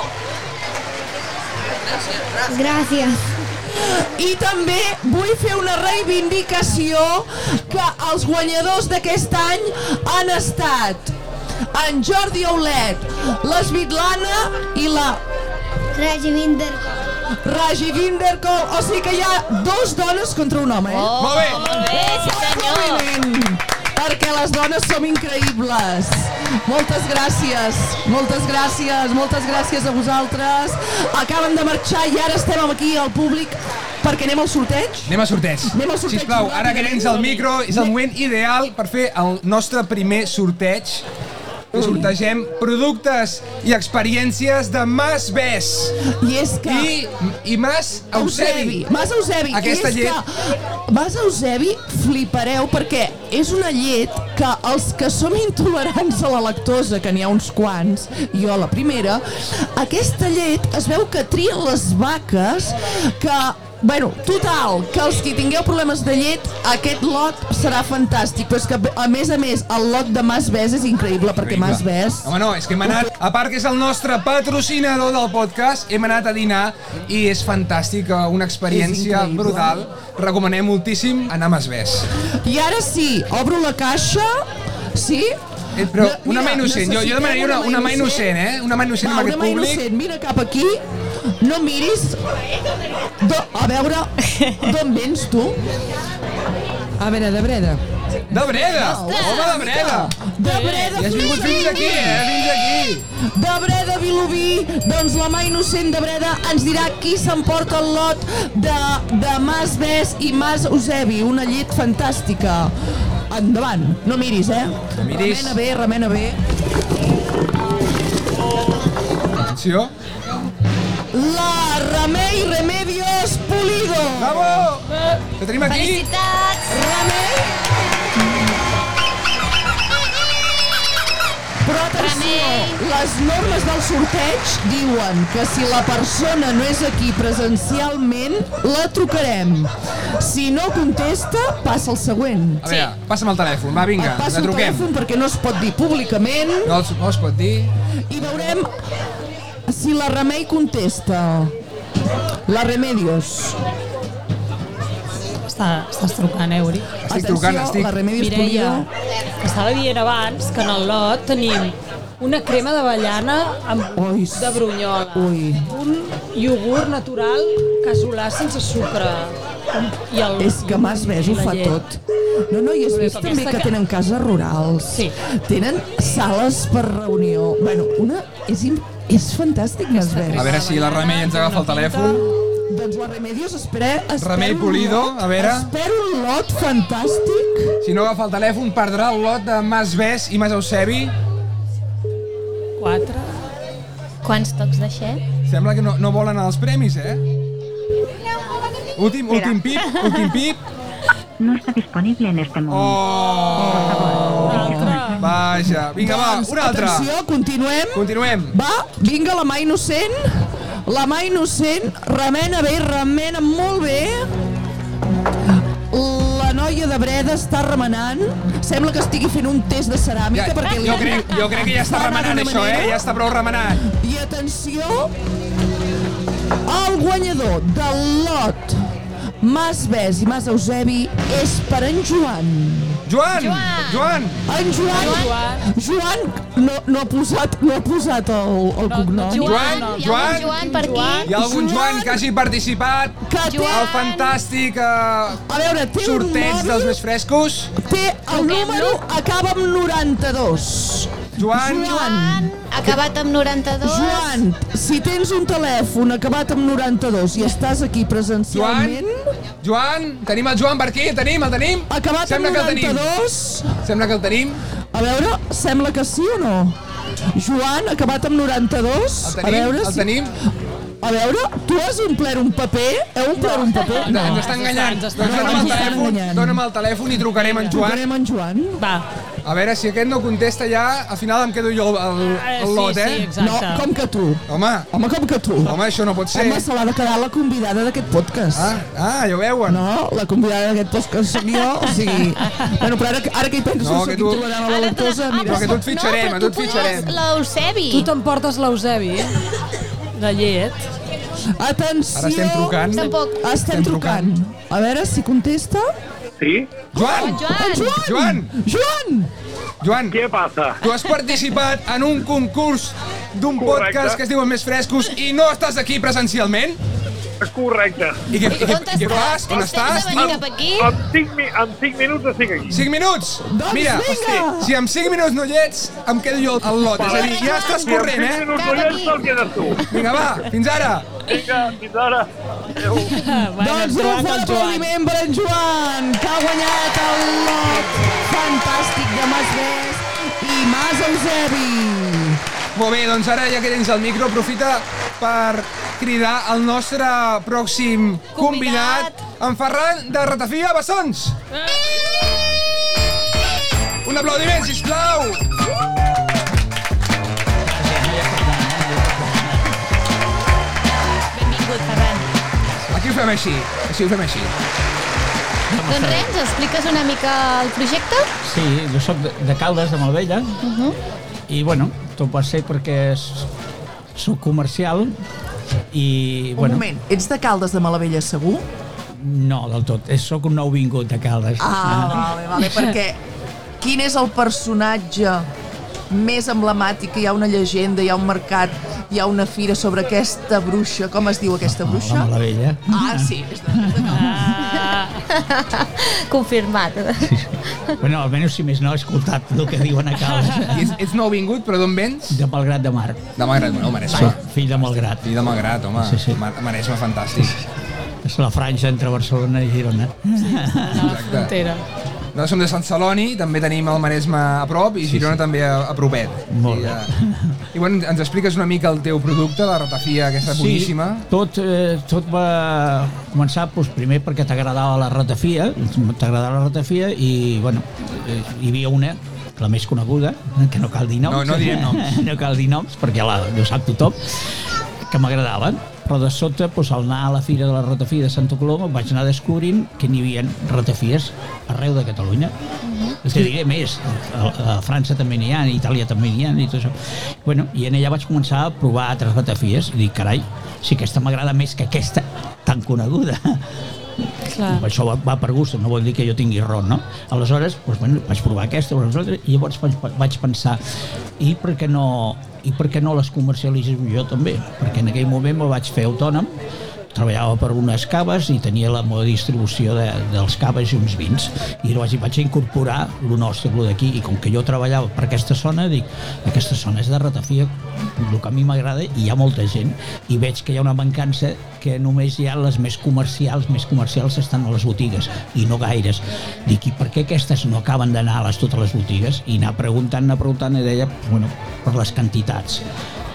gràcies
I també vull fer una reivindicació que els guanyadors d'aquest any han estat en Jordi Aulet, l'Esvitlana i la
Rajvinder
Raji Vinderkol. O sigui que hi ha dos dones contra un home, eh?
Oh,
Molt bé.
Molt bé, sí senyor.
Aplaudiment, perquè les dones som increïbles. Moltes gràcies, moltes gràcies, moltes gràcies a vosaltres. Acaben de marxar i ara estem aquí al públic perquè anem al sorteig.
Anem a sorteig.
Anem al sorteig.
Sisplau, ara que tens el micro, és el moment ideal per fer el nostre primer sorteig. Que sortegem productes i experiències de Mas Bes
I és que...
i, i Mas Eusebi.
Mas Eusebi.
Aquesta
és
llet-
Que Mas Eusebi, flipareu, perquè és una llet que els que som intolerants a la lactosa, que n'hi ha uns quants, jo la primera, aquesta llet es veu que trien les vaques que Bueno, total, que els que tingueu problemes de llet, aquest lot serà fantàstic, però és que, a més a més, el lot de Mas Bes és increïble, perquè
Increïble.
Mas Bes...
Home, no, és que hem anat, a part que és el nostre patrocinador del podcast, hem anat a dinar i és fantàstic, eh, una experiència
increïble.
brutal. Recomanem moltíssim anar a Mas Bes.
I ara sí, obro la caixa, sí?
Eh, però
Ne-
una mà innocent, jo- jo demanaria una- una mà innocent, eh? Una mà innocent
Va,
amb aquest
una mà
públic.
innocent, mira cap aquí, no miris. Do, a veure, d'on vens tu?
A veure, de breda.
De Breda! Home, de Breda!
De Breda,
I Eh, has vingut fins aquí, eh? Fins aquí!
De Breda, Vilobí, doncs la mà innocent de Breda ens dirà qui s'emporta el lot de, de Mas Bes i Mas Eusebi, una llet fantàstica. Endavant, no miris, eh? No
miris.
Remena bé, remena bé.
Atenció.
La Remei Remedios Pulido.
Bravo! Ho tenim aquí.
Felicitats.
Remei. Però atenció,
Remei.
les normes del sorteig diuen que si la persona no és aquí presencialment, la trucarem. Si no contesta, passa el següent.
A veure, passa'm el telèfon, va, vinga,
Et passo
la
el
truquem.
telèfon perquè no es pot dir públicament
No els, no els pot dir.
i veurem si la Remei contesta. La Remedios.
Està, estàs trucant, eh, Uri?
Estic trucant, estic.
La Remedios
Mireia,
Pulido.
que estava dient abans que en el lot tenim una crema d'avellana amb
Ui,
de brunyola,
Ui,
un iogurt natural casolà sense sucre. I el,
és que Mas Ves ho
i la
fa
llet.
tot. No, no, i has vist també que tenen cases rurals.
Sí.
Tenen sales per reunió. Bueno, una... És, im- és fantàstic, Mas Ves.
A veure si la Remei ens agafa el telèfon.
Doncs la Remedios, espera... espera
Remei
un
Pulido,
lot-
a veure.
Espero un lot fantàstic.
Si no agafa el telèfon, perdrà el lot de Mas Bes i Mas Eusebi.
Quatre.
Quants tocs de xet?
Sembla que no, no volen els premis, eh? Últim, últim pip, últim pip.
No está disponible en este momento.
Oh! Vaja, vinga, va, Ah, una altra.
Doncs Atenció, continuem.
Continuem.
Va, vinga la mà innocent. La mà innocent, remena bé, remena molt bé. La noia de Breda està remenant. Sembla que estigui fent un test de ceràmica
Ja,
perquè... li-
jo, crec, jo crec que ja està
Fa anar
remenant
d'una
això, eh?
manera.
Ja està prou remenant.
I atenció, el guanyador del lot Mas Bes i Mas Eusebi és per en Joan.
Joan! Joan!
En Joan, Joan, no, no ha posat, no ha posat el, el cognom.
Joan!
Hi ha
Joan!
algun Joan per
Hi
aquí?
ha algun Joan que hagi participat
que té,
Joan.
al fantàstic eh,
a veure, té un
sorteig dels
mòbil,
més frescos?
té el
Truquem-lo.
número, acaba amb 92.
Joan!
Joan,
Acabat amb 92.
Joan, si tens un telèfon acabat amb 92 i estàs aquí
Joan!
presencialment,
Joan! Tenim el Joan per aquí, el tenim, el tenim!
acabat
Sembla
amb
que el tenim.
92,
Sembla que el tenim.
a veure, sembla que sí o no? Joan, acabat amb 92,
El
a
tenim,
veure,
el tenim.
a veure, tu has omplert un paper? Heu omplert un paper?
No, ens està enganyant. Doncs dona'm el
ens estan
telèfon,
enganyant.
dona'm el telèfon i trucarem a en Joan.
Trucarem en Joan.
Va,
A veure, si aquest no contesta ja, al final em quedo jo el, el,
Ah,
eh,
el lot,
sí, sí,
eh?
No,
exacte.
com que tu.
Home,
Home, com que tu.
home, això no pot ser.
Home, se l'ha de quedar la convidada d'aquest podcast.
Ah, ah, ja ho veuen.
No, la convidada d'aquest podcast soc jo, o sigui... Bueno, però ara, que- ara que hi penso,
No,
no,
que
que
tu-
intolerant a la lactosa, mira...
Però que tu et fitxarem,
no,
a
però
tu
tu
et fitxarem.
podies l'Eusebi.
Tu t'emportes l'Eusebi, eh?
de llet.
Atenció!
Ara estem trucant.
Tampoc.
Estem,
Estem trucant.
trucant. A veure si contesta.
Joan!
Joan!
Joan!
Joan!
Joan!
Joan!
Què passa?
Tu has participat en un concurs d'un
Correcte.
podcast que es diu Els Més Frescos i no estàs aquí presencialment?
Correcte.
I què, i què,
On
i què fas? On
Tens temps
estàs? Ah,
de venir cap aquí?
En 5, mi en 5 minuts estic aquí.
5 minuts!
Doncs
Mira,
vinga!
hosti, si en 5 minuts no hi ets, em quedo jo al lot. És a dir, ja estàs
Si en
corrent,
5
eh?
minuts no hi ets, te'l quedes tu.
Vinga, va, fins ara!
Vinga, fins ara. Adéu.
Bueno,
doncs un
Joan,
fort
el Joan.
aplaudiment per en Joan, que ha guanyat el lot fantàstic de Mas Bes i Mas Eusebi.
Molt bé, doncs ara ja que tens el micro, aprofita per cridar el nostre pròxim convidat, en Ferran de Ratafia Bessons. Un aplaudiment, sisplau!
Benvingut, Ferran.
Aquí ho fem així, així ho fem així.
Doncs res, ens expliques una mica el projecte?
Sí, jo sóc de, de Caldes, de Malvella,
Uh-huh.
i bueno, tot va ser perquè s- sóc comercial i,
Un
bueno,
moment, ets de Caldes de Malavella, segur?
no del tot, és- sóc un nou vingut de Caldes.
Ah, vale, vale, perquè quin és el personatge més emblemàtic? Hi ha una llegenda, hi ha un mercat, hi ha una fira sobre aquesta bruixa. Com es diu aquesta
De
bruixa?
Malvella.
Ah, sí. És de, és de Caldes.
Confirmat.
Bueno, almenys si més no he escoltat el que diuen a Caldes.
I Ets, ets nou vingut, però d'on vens?
De Malgrat de Mar.
De Magrat, bueno, Maresme.
Soc fill de Malgrat.
Fill de Magrat, home.
Sí, sí.
Ma- Maresme fantàstic.
És la franja entre Barcelona i Girona.
Exacte.
Frontera.
Nosaltres som de Sant Celoni, també tenim el Maresme a prop i Girona també a, a propet.
Molt
I,
bé.
eh, I bueno, ens expliques una mica el teu producte, la ratafia aquesta boníssima.
tot, eh, tot va començar doncs, primer perquè t'agradava la ratafia, t'agradava la ratafia i bueno, eh, hi havia una la més coneguda, que no cal dir noms.
No, no direm noms.
no cal dir noms, perquè la, ho sap tothom, que m'agradava. però de sota, doncs, al anar a la fira de la ratafia de Santa Coloma, vaig anar descobrint que n'hi havia ratafies arreu de Catalunya. Mm Te diré més, a, a França també n'hi ha, a Itàlia també n'hi ha, i tot això. Bueno, I en allà vaig començar a provar altres ratafies, i dic, carai, si aquesta m'agrada més que aquesta tan coneguda. Clar. Això va, va per gust, no vol dir que jo tingui raó, no? Aleshores, doncs, bueno, vaig provar aquesta, llavors l'altra, i llavors vaig, vaig pensar, i per què no i per què no les comercialitzes jo també? Perquè en aquell moment me vaig fer autònom, treballava per unes caves i tenia la meva distribució de, dels caves i uns vins i llavors hi vaig incorporar el nostre, el d'aquí i com que jo treballava per aquesta zona dic, aquesta zona és de ratafia el que a mi m'agrada i hi ha molta gent i veig que hi ha una mancança que només hi ha les més comercials més comercials estan a les botigues i no gaires dic, i per què aquestes no acaben d'anar a les, totes les botigues i anar preguntant, anar preguntant i deia, bueno, per les quantitats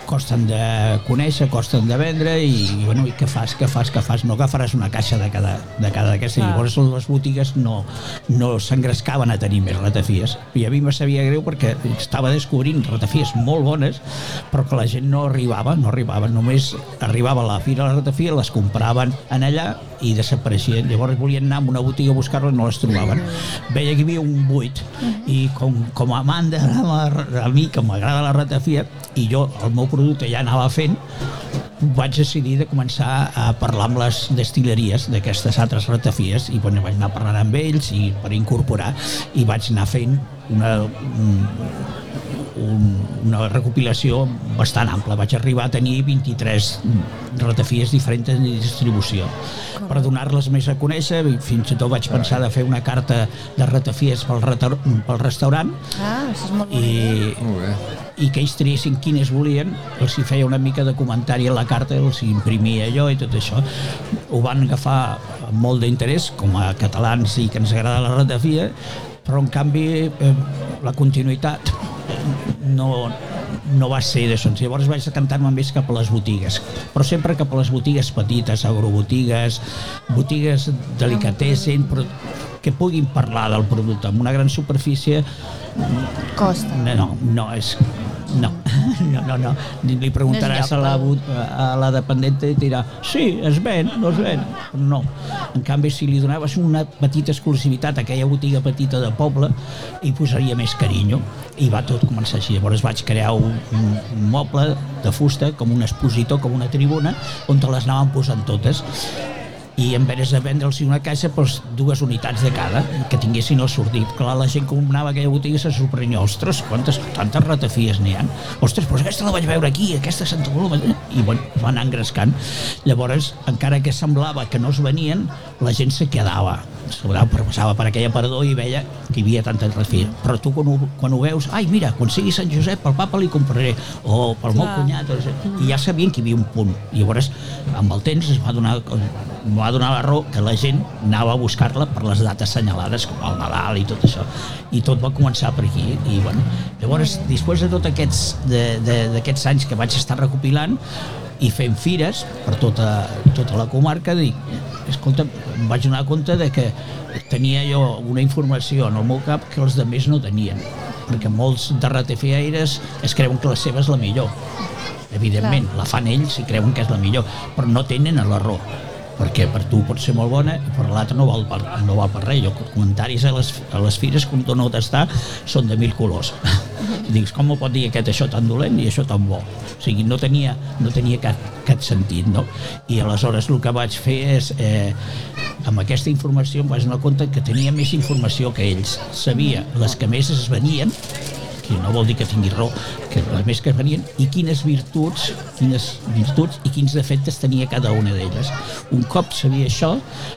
costen de conèixer, costen de vendre i, i bueno, i què fas, què fas, què fas? No agafaràs una caixa de cada de cada d'aquesta. Ah. Llavors les botigues no, no s'engrescaven a tenir més ratafies. I a mi me sabia greu perquè estava descobrint ratafies molt bones, però que la gent no arribava, no arribava. Només arribava a la fira la ratafia, les compraven en allà i desapareixien. Llavors volien anar a una botiga a buscar-les, no les trobaven. Veia que hi havia un buit i com, com a amant de la, a mi, que m'agrada la ratafia, i jo el meu producte ja anava fent, vaig decidir de començar a parlar amb les destileries d'aquestes altres ratafies i bueno, vaig anar parlant amb ells i per incorporar i vaig anar fent una, un, una recopilació bastant ampla. Vaig arribar a tenir 23 ratafies diferents de distribució. Per donar-les més a conèixer, fins i tot vaig pensar de fer una carta de ratafies pel, reta pel restaurant
Ah, això és molt
i, i que ells triessin quines volien, els hi feia una mica de comentari a la carta, els hi imprimia allò i tot això. Ho van agafar amb molt d'interès, com a catalans i que ens agrada la ratafia, però en canvi eh, la continuïtat no, no va ser d'això. Llavors vaig decantar-me més cap a les botigues, però sempre cap a les botigues petites, agrobotigues, botigues delicatessen, però que puguin parlar del producte. Amb una gran superfície...
Costa.
No, no, és... No, no, no, no. Li preguntaràs a la, bot- a la dependenta i et dirà sí, es ven, no es ven. No. En canvi, si li donaves una petita exclusivitat a aquella botiga petita de poble, hi posaria més carinyo. I va tot començar així. Llavors vaig crear un, un, un moble de fusta, com un expositor, com una tribuna, on te les anaven posant totes i en veres de vendre'ls una caixa doncs, dues unitats de cada, que tinguessin el sortit. Clar, la gent que anava a aquella botiga se sorprenia, ostres, quantes, tantes ratafies n'hi ha. Ostres, però aquesta la vaig veure aquí, aquesta a Santa Coloma. I bueno, es va anar engrescant. Llavors, encara que semblava que no es venien, la gent se quedava. Sobrava, però passava per aquella parador i veia que hi havia tanta ratafia. Però tu quan ho, quan ho veus, ai, mira, quan sigui Sant Josep, pel papa li compraré, o pel meu
Clar.
cunyat, o, i ja sabien que hi havia un punt. Llavors, amb el temps es va donar, em va donar la raó que la gent anava a buscar-la per les dates assenyalades, com el Nadal i tot això. I tot va començar per aquí. I, bueno, llavors, després de tots aquests, de- de- d'aquests anys que vaig estar recopilant i fent fires per tota, tota la comarca, dic, escolta, em vaig donar compte de que tenia jo una informació en el meu cap que els de més no tenien perquè molts de ratifiaires es creuen que la seva és la millor evidentment, la fan ells i creuen que és la millor, però no tenen la raó perquè per tu pot ser molt bona i per l'altre no val per, no val per res jo comentaris a les, a les fires que un torno a tastar són de mil colors dius com ho pot dir aquest això tan dolent i això tan bo o sigui, no tenia, no tenia cap, cap sentit no? i aleshores el que vaig fer és eh, amb aquesta informació em vaig donar compte que tenia més informació que ells sabia les que més es venien que no vol dir que tingui raó, que les més que es venien, i quines virtuts, quines virtuts i quins defectes tenia cada una d'elles. Un cop sabia això,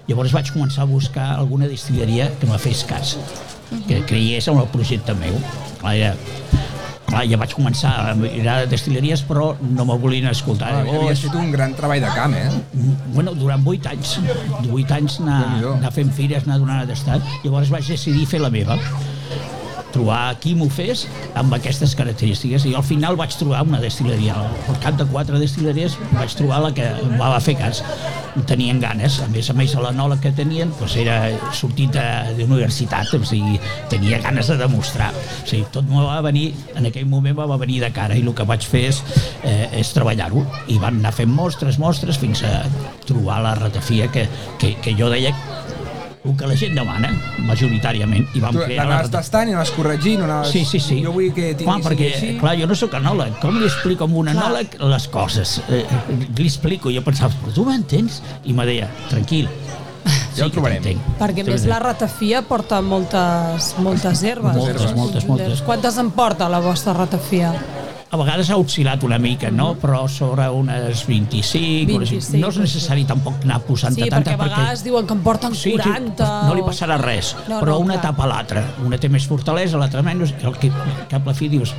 llavors vaig començar a buscar alguna distilleria que me fes cas, que creiés en el projecte meu. Clar, ja, clar, ja vaig començar a mirar destilleries, però no me volien escoltar.
Ah,
Llavors-
havies fet un gran treball de camp, eh?
bueno, durant 8 anys, 8 anys anar, anar fent fires, anar donant a tastar. Llavors vaig decidir fer la meva. trobar qui m'ho fes amb aquestes característiques i al final vaig trobar una destileria al cap de quatre destileries vaig trobar la que em va fer cas tenien ganes, a més a més la nola que tenien doncs era sortit de- d'universitat o sigui, tenia ganes de demostrar o sigui, tot me va venir en aquell moment me va venir de cara i el que vaig fer és, eh, és treballar-ho i van anar fent mostres, mostres fins a trobar la ratafia que, que, que jo deia el que la gent demana, majoritàriament, i vam
Tu
crear la
l'anaves
ratafia.
tastant i anaves corregint, anaves...
Sí, sí, sí.
Jo vull que tingui
Clar, perquè,
així.
clar, jo no sóc anòleg. Com li explico a un anòleg les coses? Eh, li explico, jo pensava, però tu m'entens? I me deia, tranquil, ja ho trobarem.
Perquè a més la ratafia porta moltes, moltes herbes.
Moltes, moltes, moltes.
Quantes en porta la vostra ratafia?
a vegades ha oscil·lat una mica, no? però sobre unes 25, unes
25,
no és necessari tampoc anar posant
Sí,
tanta
perquè a vegades diuen que en porten
Sí, sí,
40.
no li passarà res,
No,
no, però
no,
no, una
clar.
tapa l'altra. Una té més fortalesa, l'altra menys, i el que cap a la fi dius...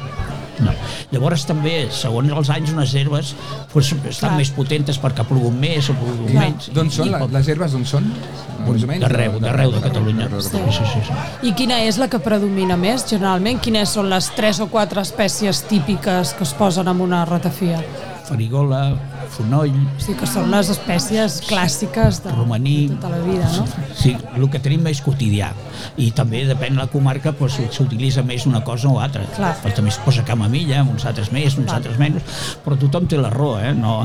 No. Llavors també, segons els anys, unes herbes pues, estan
Clar.
més potentes perquè ha plogut més o ha plogut
Clar.
menys.
D'on són la- les herbes? D'on són? Més o menys?
D'arreu, d'arreu Mm. de Catalunya. Sí, sí, sí. sí.
I quina és la que predomina més, generalment? Quines són les 3 o 4 espècies típiques que es posen en una ratafia?
Farigola, fonoll...
O sigui, que són les espècies clàssiques de
Ah. romaní,
tota la vida, no?
sí, el que tenim més quotidià i també depèn la comarca doncs, s'utilitza més una cosa o altra
Clar.
però també es posa camamilla, uns altres més uns altres menys, però tothom té la raó eh? no,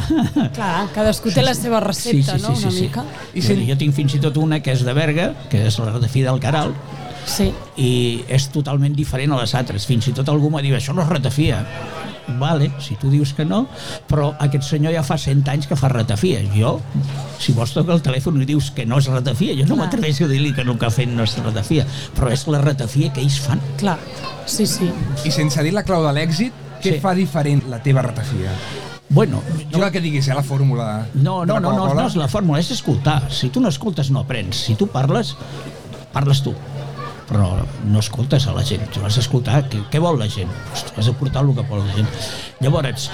Clar, cadascú té la seva recepta, no?, una mica.
I si... Jo tinc fins i tot una que és de Berga, que és la de fi del Caral,
Sí.
i és totalment diferent a les altres. Fins i tot algú m'ha dit, això no és ratafia. Vale, si tu dius que no, però aquest senyor ja fa 100 anys que fa ratafia. Jo, si vols tocar el telèfon i dius que no és ratafia, jo no
Clar.
m'atreveixo a dir-li que el que ha fet no és ratafia, però és la ratafia que ells fan.
Clar, sí, sí.
I sense dir la clau de l'èxit, què sí. fa diferent la teva ratafia?
Bueno,
no cal que diguis eh, la fórmula
No,
de
no,
la
no, no,
Coca-Cola.
no és la fórmula, és escoltar. Si tu no escoltes, no aprens. Si tu parles, parles tu. Però no escoltes a la gent, tu has d'escoltar què, què vol la gent. Doncs tu has de portar el que vol la gent. Llavors,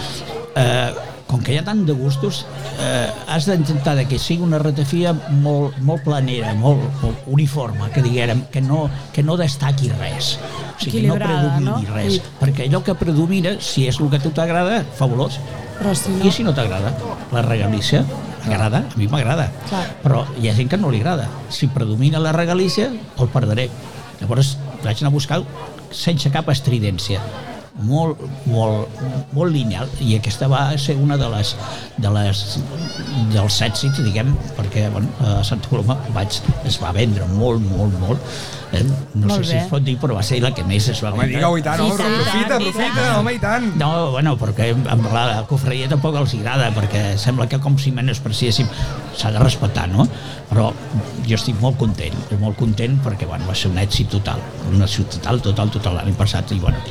eh, com que hi ha tant de gustos, eh, has d'intentar de que sigui una ratafia molt, molt planera, molt, molt uniforme, que diguérem, que no, que no destaqui res. O sigui, que no
Equilibrada,
predomini
no?
res.
I-
Perquè allò que predomina, si és el que a tu t'agrada, fabulós.
Però si
I si no t'agrada? La regalícia m'agrada, a mi m'agrada.
Clar.
Però hi ha gent que no li agrada. Si predomina la regalícia, el perdré. Llavors vaig anar a buscar sense cap estridència molt, molt, molt lineal i aquesta va ser una de les, de les dels èxits diguem, perquè bueno, a Santa Coloma vaig, es va vendre molt, molt, molt eh? no
Molt
sé si
bé.
es pot dir però va ser la que més es va
Home,
vendre
digue-ho i tant, home, aprofita, aprofita, home, i tant.
No, bueno, perquè amb la cofreria tampoc els agrada, perquè sembla que com si menyspreciéssim s'ha de respectar, no? Però jo estic molt content, molt content perquè, bueno, va ser un èxit total, un èxit total, total, total l'any passat, i bueno,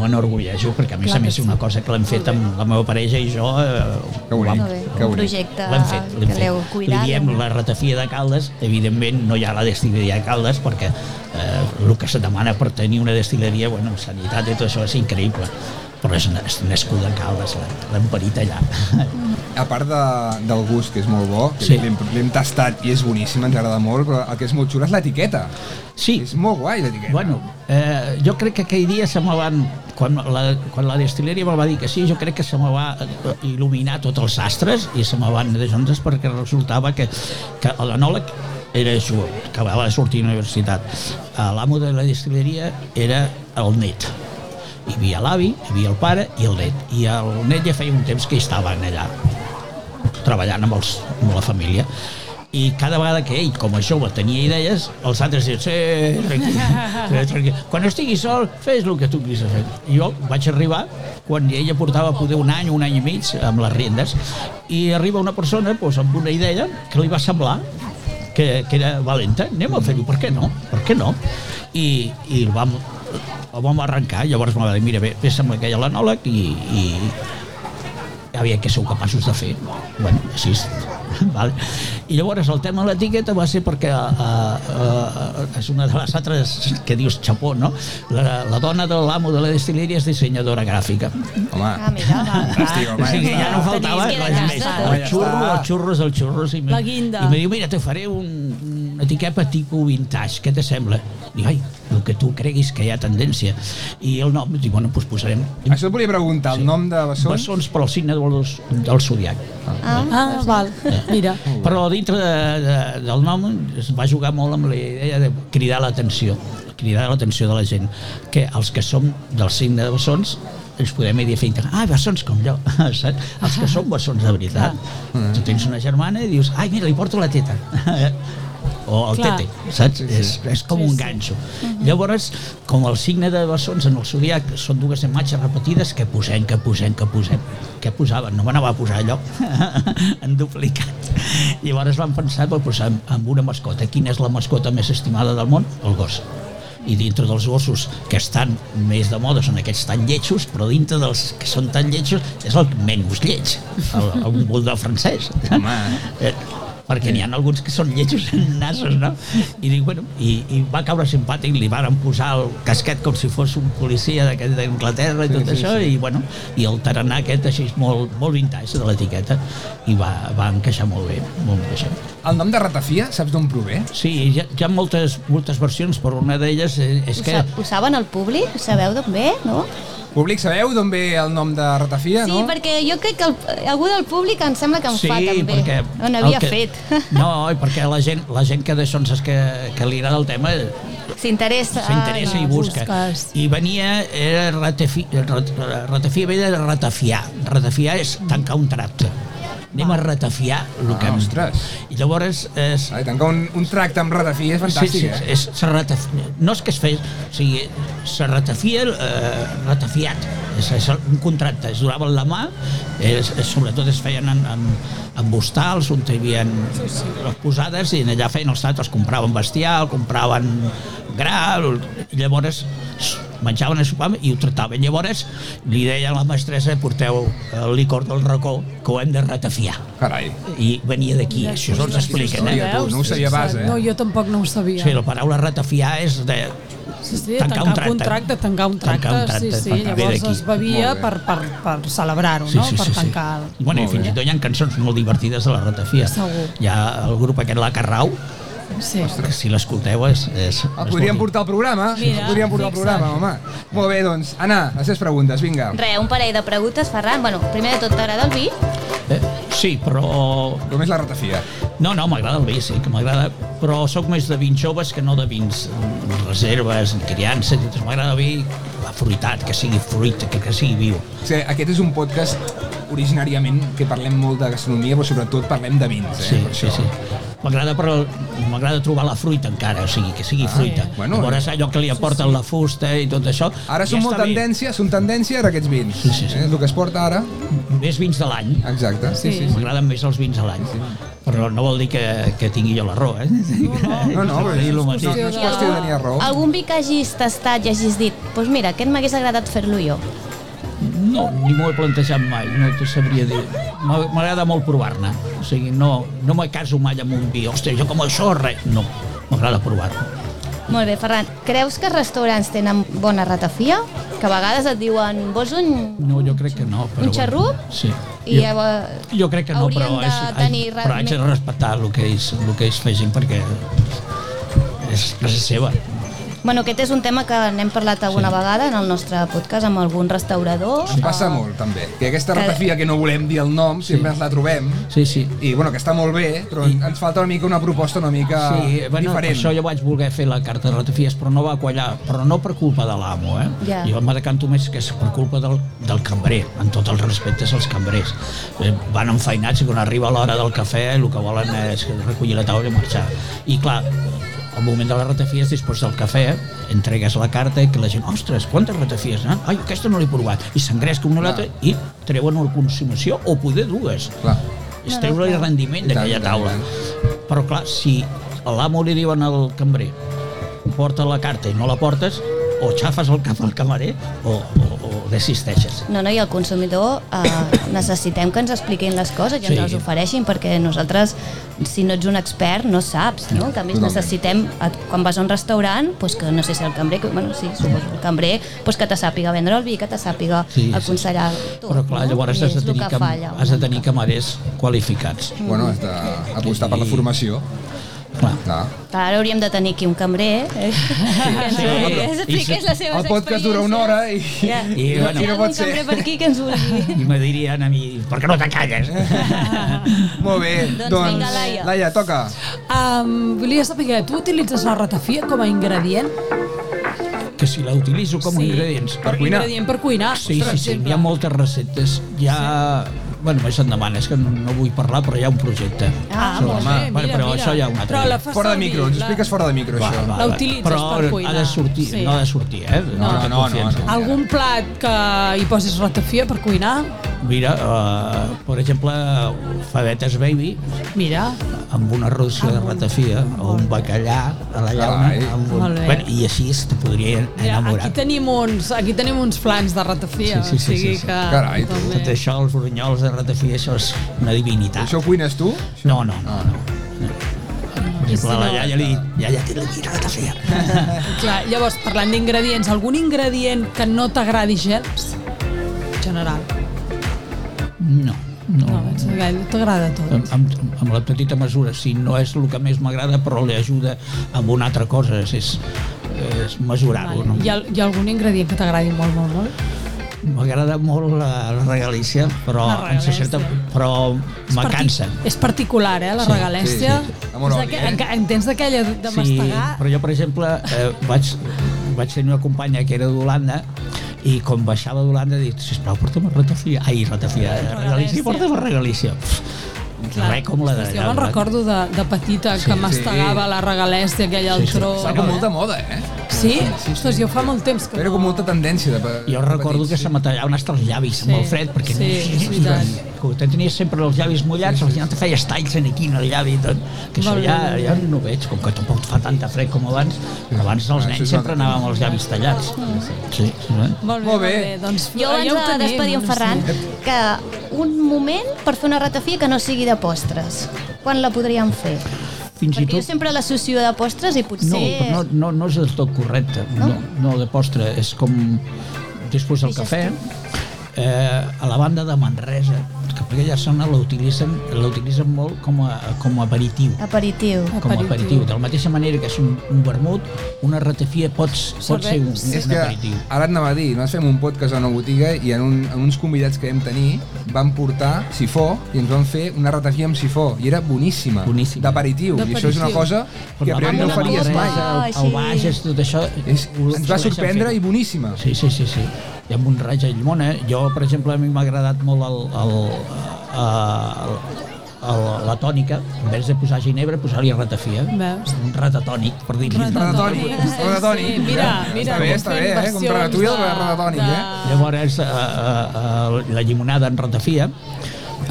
m'enorgullejo perquè a més
Clar
a
que
més
sí.
una cosa que l'hem fet amb la meva parella i jo eh, que
Molt bé. Un projecte
l'hem fet, l'hem
que l'heu
fet.
cuidat,
li diem
no?
la ratafia de Caldes evidentment no hi ha la destileria de Caldes perquè eh, el que se demana per tenir una destileria bueno, amb sanitat i tot això és increïble però és, na- és nascuda a Caldes l'hem- l'hem parit allà Mm.
A part de, del gust, que és molt bo, que
Sí.
l'hem l'hem tastat i és boníssim, ens agrada molt, però el que és molt xulo és l'etiqueta.
Sí.
És molt guai, l'etiqueta.
Bueno, eh, jo crec que aquell dia se me van... Quan la, quan la destileria me va dir que sí, jo crec que se me va eh, il·luminar tots els astres i se me van de juntes perquè resultava que, que l'anòleg era jueu, que va sortir a la universitat. Eh, L'amo de la destileria era el net. Hi havia l'avi, hi havia el pare i el net. I el net ja feia un temps que hi estaven allà treballant amb, els, amb la família i cada vegada que ell, com a jove, tenia idees, els altres diuen, sí, tranquil, sí, tranquil. Quan estigui sol, fes el que tu vulguis fer. I jo vaig arribar quan ella portava poder un any, un any i mig, amb les rendes, i arriba una persona doncs, amb una idea que li va semblar que, que era valenta, anem a fer-ho, per què no? Per què no? I, i el vam, el vam arrencar, llavors em va dir, mira, bé, fes amb aquella l'anòleg i, i, havia que sou capaços de fer. Bueno, així és. Val. I llavors el tema de l'etiqueta va ser perquè uh, uh, és una de les altres que dius xapó, no? La, la dona de l'amo de la destileria és dissenyadora gràfica.
Home,
Ah, mira, va.
Fantàstic, home,
o sigui,
ja
ja
està.
no faltava
Tenies que
res
anar a
més.
casa,
El
tu.
xurro,
Ja
el xurros, el xurros. I me,
La guinda.
I me diu, mira, te faré un, una etiqueta tipus vintage, què te sembla? Dic, ai, el que tu creguis que hi ha tendència. I el nom, dic, bueno, doncs posarem...
Això et volia preguntar, el nom de Bessons?
Bessons per al signe del, del Zodiac.
Ah, ah val. Mira.
Però dintre de, de, del nom es va jugar molt amb la idea de cridar l'atenció cridar l'atenció de la gent que els que som del signe de bessons ens podem identificar, ah, bessons com jo, saps? Els que som bessons de veritat. Ah. Tu tens una germana i dius, ai, mira, li porto la teta. o el
Clar.
Clar. tete, saps? Sí, sí. És, és com un ganxo. Uh -huh. Llavors, com el signe de bessons en el zodiac són dues imatges repetides, que posem, que posem, que posem. Què posaven? No m'anava a posar allò en duplicat. Llavors van pensar, per posar en- en una mascota. Quina és la mascota més estimada del món? El gos i dintre dels gossos que estan més de moda són aquests tan lletjos, però dintre dels que són tan lletjos és el menys lleig, el, el bulldog francès.
Ah.
Eh, perquè n'hi ha alguns que són lletjos en nassos, no? I dic, bueno, i, i va caure simpàtic, li varen posar el casquet com si fos un policia d'aquest d'Anglaterra i
Sí,
tot
sí,
això,
sí.
i bueno, i el taranà aquest així és molt, molt vintage de l'etiqueta, i va, va encaixar molt bé, molt encaixar.
El nom de ratafia, saps d'on prové?
Sí, hi ha, hi ha moltes, moltes versions, però una d'elles és, és
Ho,
que...
sa ho saben el públic? Ho sabeu d'on ve, no?
Públic, sabeu d'on ve el nom de ratafia,
Sí,
no?
perquè jo crec que el, algú del públic em sembla que en
Sí,
fa també.
perquè
no
el
n'havia
que-
fet.
No, i perquè la gent, la gent que d'això ens- que, que li agrada el tema
S'interessa.
s'interessa
Ai,
i
ah, no,
busca.
busques.
I venia, era ratafi, rat- ratafia ve de ratafiar. Ratafiar és tancar un tracte. Anem a ratafiar el que...
Ah,
hem-
ostres.
I llavors... És...
Ai, tancar un, un tracte amb ratafia és fantàstic,
sí, sí,
eh?
és, se ratafia, no és que es fes, o sigui, se ratafia, eh, ratafiat, és, és un contracte, es donaven la mà, és, és, sobretot es feien en, en, en bostals on hi havia les posades i allà feien els tatos, compraven bestial, compraven gra, i llavors s- menjaven a sopar i ho tractaven. Llavors li deia a la mestressa porteu el licor del racó que ho hem de ratafiar.
Carai.
I venia d'aquí, això no ens expliquen. Eh?
Hòstia, tu, no ho sabia pas, eh?
No, jo tampoc no ho sabia.
Sí, la paraula ratafiar és de
Sí, sí,
tancar
tancar,
un tracte.
un contracte, tancar un tracte,
Tancar un tracte,
sí, sí,
tancar. Ve
llavors
d'aquí.
es bevia
Molt bé.
per, per, per celebrar-ho,
Sí,
no?
sí,
per
sí, sí.
tancar el...
Bueno, i fins i tot hi ha cançons molt divertides de la ratafia.
Segur.
Hi ha el grup aquest, la Carrau,
Sí.
que si l'escolteu és... és
El Ah, podríem portar al programa,
Mira,
el podríem portar al
fixa't.
programa, home. Molt bé, doncs, Anna, les seves preguntes, vinga.
Re, un parell de preguntes, Ferran. Bueno, primer de tot, t'agrada el vi?
Eh, sí, però...
Només la ratafia.
No, no, m'agrada el vi, sí, que m'agrada, però sóc més de vins joves que no de vins mm, reserves, ni criança, i tot. m'agrada el vi afruitat, que sigui fruit, que, que sigui viu.
Sí, aquest és un podcast originàriament que parlem molt de gastronomia, però sobretot parlem de vins, eh?
Sí, sí, sí. M'agrada però m'agrada trobar la fruita encara, o sigui, que sigui
Ah,
ah, fruita.
bueno,
Bueno, Llavors
eh.
allò que li aporten sí, sí. la fusta i tot això...
Ara són molt tendència, són tendència ara aquests vins. Sí, sí, sí. Eh? El que es porta ara.
Més vins de l'any.
Exacte, sí, sí. sí.
M'agraden més els vins a l'any. Sí. Però no vol dir que, que tingui jo la raó, eh?
No, no, però
Dir lo mateix.
no, no és qüestió de tenir raó.
Algun vi que hagis tastat i hagis dit, doncs pues mira, aquest m'hagués agradat fer-lo jo.
No, ni m'ho he plantejat mai, no t'ho sabria dir. M'a- M'agrada molt provar-ne. O sigui, no, no me caso mai amb un vi. Ostres, jo com això, res. No, m'agrada provar-lo.
Molt bé, Ferran. Creus que els restaurants tenen bona ratafia? Que a vegades et diuen, vols un...
No, jo crec que no. Però
Mm. Un xarrup?
Bueno, sí.
I
Jo-
llavors-
Jo crec que no,
Haurien
però,
de
és,
tenir
però haig de respectar el que ells, el que ells fessin perquè és casa seva.
Bueno, aquest és un tema que n'hem parlat alguna sí. vegada en el nostre podcast amb algun restaurador.
Ens passa molt, també. Que aquesta
Que-
ratafia que no volem dir el nom, sempre ens la trobem.
Sí, sí.
I, bueno, que està molt bé, però ens falta una mica una proposta una mica
sí, bueno, per
diferent.
això jo vaig voler fer la carta de ratafies, però no va quallar, però no per culpa de l'amo, eh?
Ja.
Jo me decanto més que és per culpa del, del cambrer, en tots els respectes als cambrers. Eh, Van enfeinats i quan arriba l'hora del cafè el que volen és recollir la taula i marxar. I clar, al moment de les ratafies, després del cafè, entregues la carta i que la gent, ostres, quantes ratafies, eh? Ai, aquesta no l'he provat. I s'engresca una a l'altra i treuen una consumació, o poder dues.
Clar.
És treure-li rendiment d'aquella taula. Però clar, si a l'amo li diuen al cambrer porta la carta i no la portes, o xafes el cap al camarer o, o, o desisteixes.
No, no, i el consumidor eh, necessitem que ens expliquin les coses i ens
Sí.
les ofereixin, perquè nosaltres, si no ets un expert, no saps, no? En canvi,
Totalment.
necessitem, eh, quan vas a un restaurant, doncs que no sé si el cambrer, que- bueno, sí, suposo, el cambrer, doncs que te sàpiga vendre el vi, que te sàpiga
Sí, sí.
aconsellar tot,
Però clar,
no?
llavors
I
has
és
de
el
tenir,
que
cam
falla.
has de tenir camarers qualificats.
Bueno, has d'apostar per la formació.
Clar.
Clar.
Clar, hauríem de tenir aquí un cambrer eh? que ens,
sí.
que ens expliqués les seves
El podcast dura una hora i,
Ja.
I,
Hi ha
bueno,
algun cambrer per aquí que ens vulgui.
I me dirien a mi, per què no te calles?
Molt bé,
Doncs doncs, vinga, Laia.
Laia, toca.
Um, volia saber, tu utilitzes la ratafia com a ingredient?
Que si la utilitzo com a ingredients. Per
Ingredient per cuinar.
Sí, sí, sí, hi ha moltes receptes. Hi ha... Bueno, més endavant, és que no, no vull parlar, però hi ha un projecte.
Ah,
Sobre
molt
la mà.
bé,
bueno,
mira,
però
mira.
això hi ha un altre.
Però la
dia.
fas Fora de servir, micro, ens la- expliques
fora de micro,
va,
això.
Va,
La
va.
utilitzes
però
per cuinar.
ha de sortir,
Sí.
no ha de sortir, eh?
No,
no,
Tota
no,
confiança.
Algun plat que hi posis ratafia per cuinar?
Mira, uh, per exemple, favetes baby,
Mira,
amb una arròs de ratafia o un bacallà a la llauna.
Carai.
Amb un...
Molt bé.
Bueno, I així es podria
aquí
enamorar.
tenim uns, aquí tenim uns plans de ratafia.
Sí, sí, sí,
o sigui
sí, sí.
Que,
Carai, tu.
també.
Tot això, els brunyols de ratafia, això és una divinitat. Això
ho cuines tu?
No, no,
Ah.
no. no. Per exemple, a la iaia li dic, iaia, té la tira ratafia.
Clar, llavors, parlant d'ingredients, algun ingredient que no t'agradi gens? En general.
No, no.
No, és que t'agrada tot.
Amb, amb, amb la petita mesura, si no és el que més m'agrada, però li ajuda amb una altra cosa, és, és, és mesurar-ho. No?
Hi ha, hi ha algun ingredient que t'agradi molt, molt, molt?
M'agrada molt la, la regalícia, però,
La
en
regalèssia.
certa, però me cansa.
És particular, eh, la
Sí,
regalèstia.
sí, sí. Amor
És
odi,
aqu-
eh?
enca- En tens d'aquella de, de mastegar?
però jo, per exemple, eh, vaig, vaig tenir una companya que era d'Holanda i quan baixava d'Holanda dic, sisplau, porta'm la ratafia. Ai, ratafia, eh, regalícia, porta'm la regalícia. Pff,
Clar.
Res com la de...
Ostres, jo me'n recordo de, de petita que
Sí.
mastegava la regalèstia aquella al
Sí, sí.
tro.
Està com molt de
moda, eh?
Sí? Ostres, jo fa molt temps que
Era com molta tendència. De,
Jo recordo que se me tallaven hasta els llavis amb el fred, perquè
sí, és veritat.
que te tenies sempre els llavis mullats, al final te feies talls en aquí, en el llavi i tot. Que això
Molt bé,
ja,
molt bé.
ja no ho veig, com que tampoc fa tanta fred com abans, però abans els
Això és
nens
una
sempre
altra
anàvem amb els llavis tallats.
Ah,
Sí, sí.
Molt bé,
Molt
molt
bé.
bé. Doncs,
Jo abans
ja ho
de
tenim,
despedir en
no
Ferran,
sé.
que un moment per fer una ratafia que no sigui de postres. Quan la podríem fer?
Fins i
Perquè jo
tot
sempre l'associo de postres i potser...
No, però no, no, no és del tot correcte. No? no, no de postre, és com després del cafè. Eh, a la banda de Manresa, que per aquella zona l'utilitzen l'utilitzen molt com a, com a aperitiu.
Aperitiu.
Com a aperitiu. De la mateixa manera que és un, un vermut, una ratafia pot, pot ser un,
és
un
que
aperitiu.
ara et anava a dir, nosaltres fem un podcast a una botiga i en, un, en uns convidats que vam tenir van portar sifó i ens van fer una ratafia amb sifó i era boníssima, boníssima. d'aperitiu i això és una
D'aperitiu.
cosa que a priori no faries mai
El, el Bages, tot això... És,
ens va sorprendre i boníssima.
Sí, sí, sí, sí. I amb un raig a Illmona. Jo, per exemple, a mi m'ha agradat molt el, el, el, el, la tònica, en vez de posar ginebra, posar-li ratafia.
Veus?
Un ratatònic, per dir-li.
Ratatònic. Ratatònic. Sí, sí, Ratatònic. mira, mira, Està bé, està fent bé, eh? Com versions Ratatouille, de- ratatònic, eh? de-
Llavors, eh, eh, eh, la llimonada en ratafia,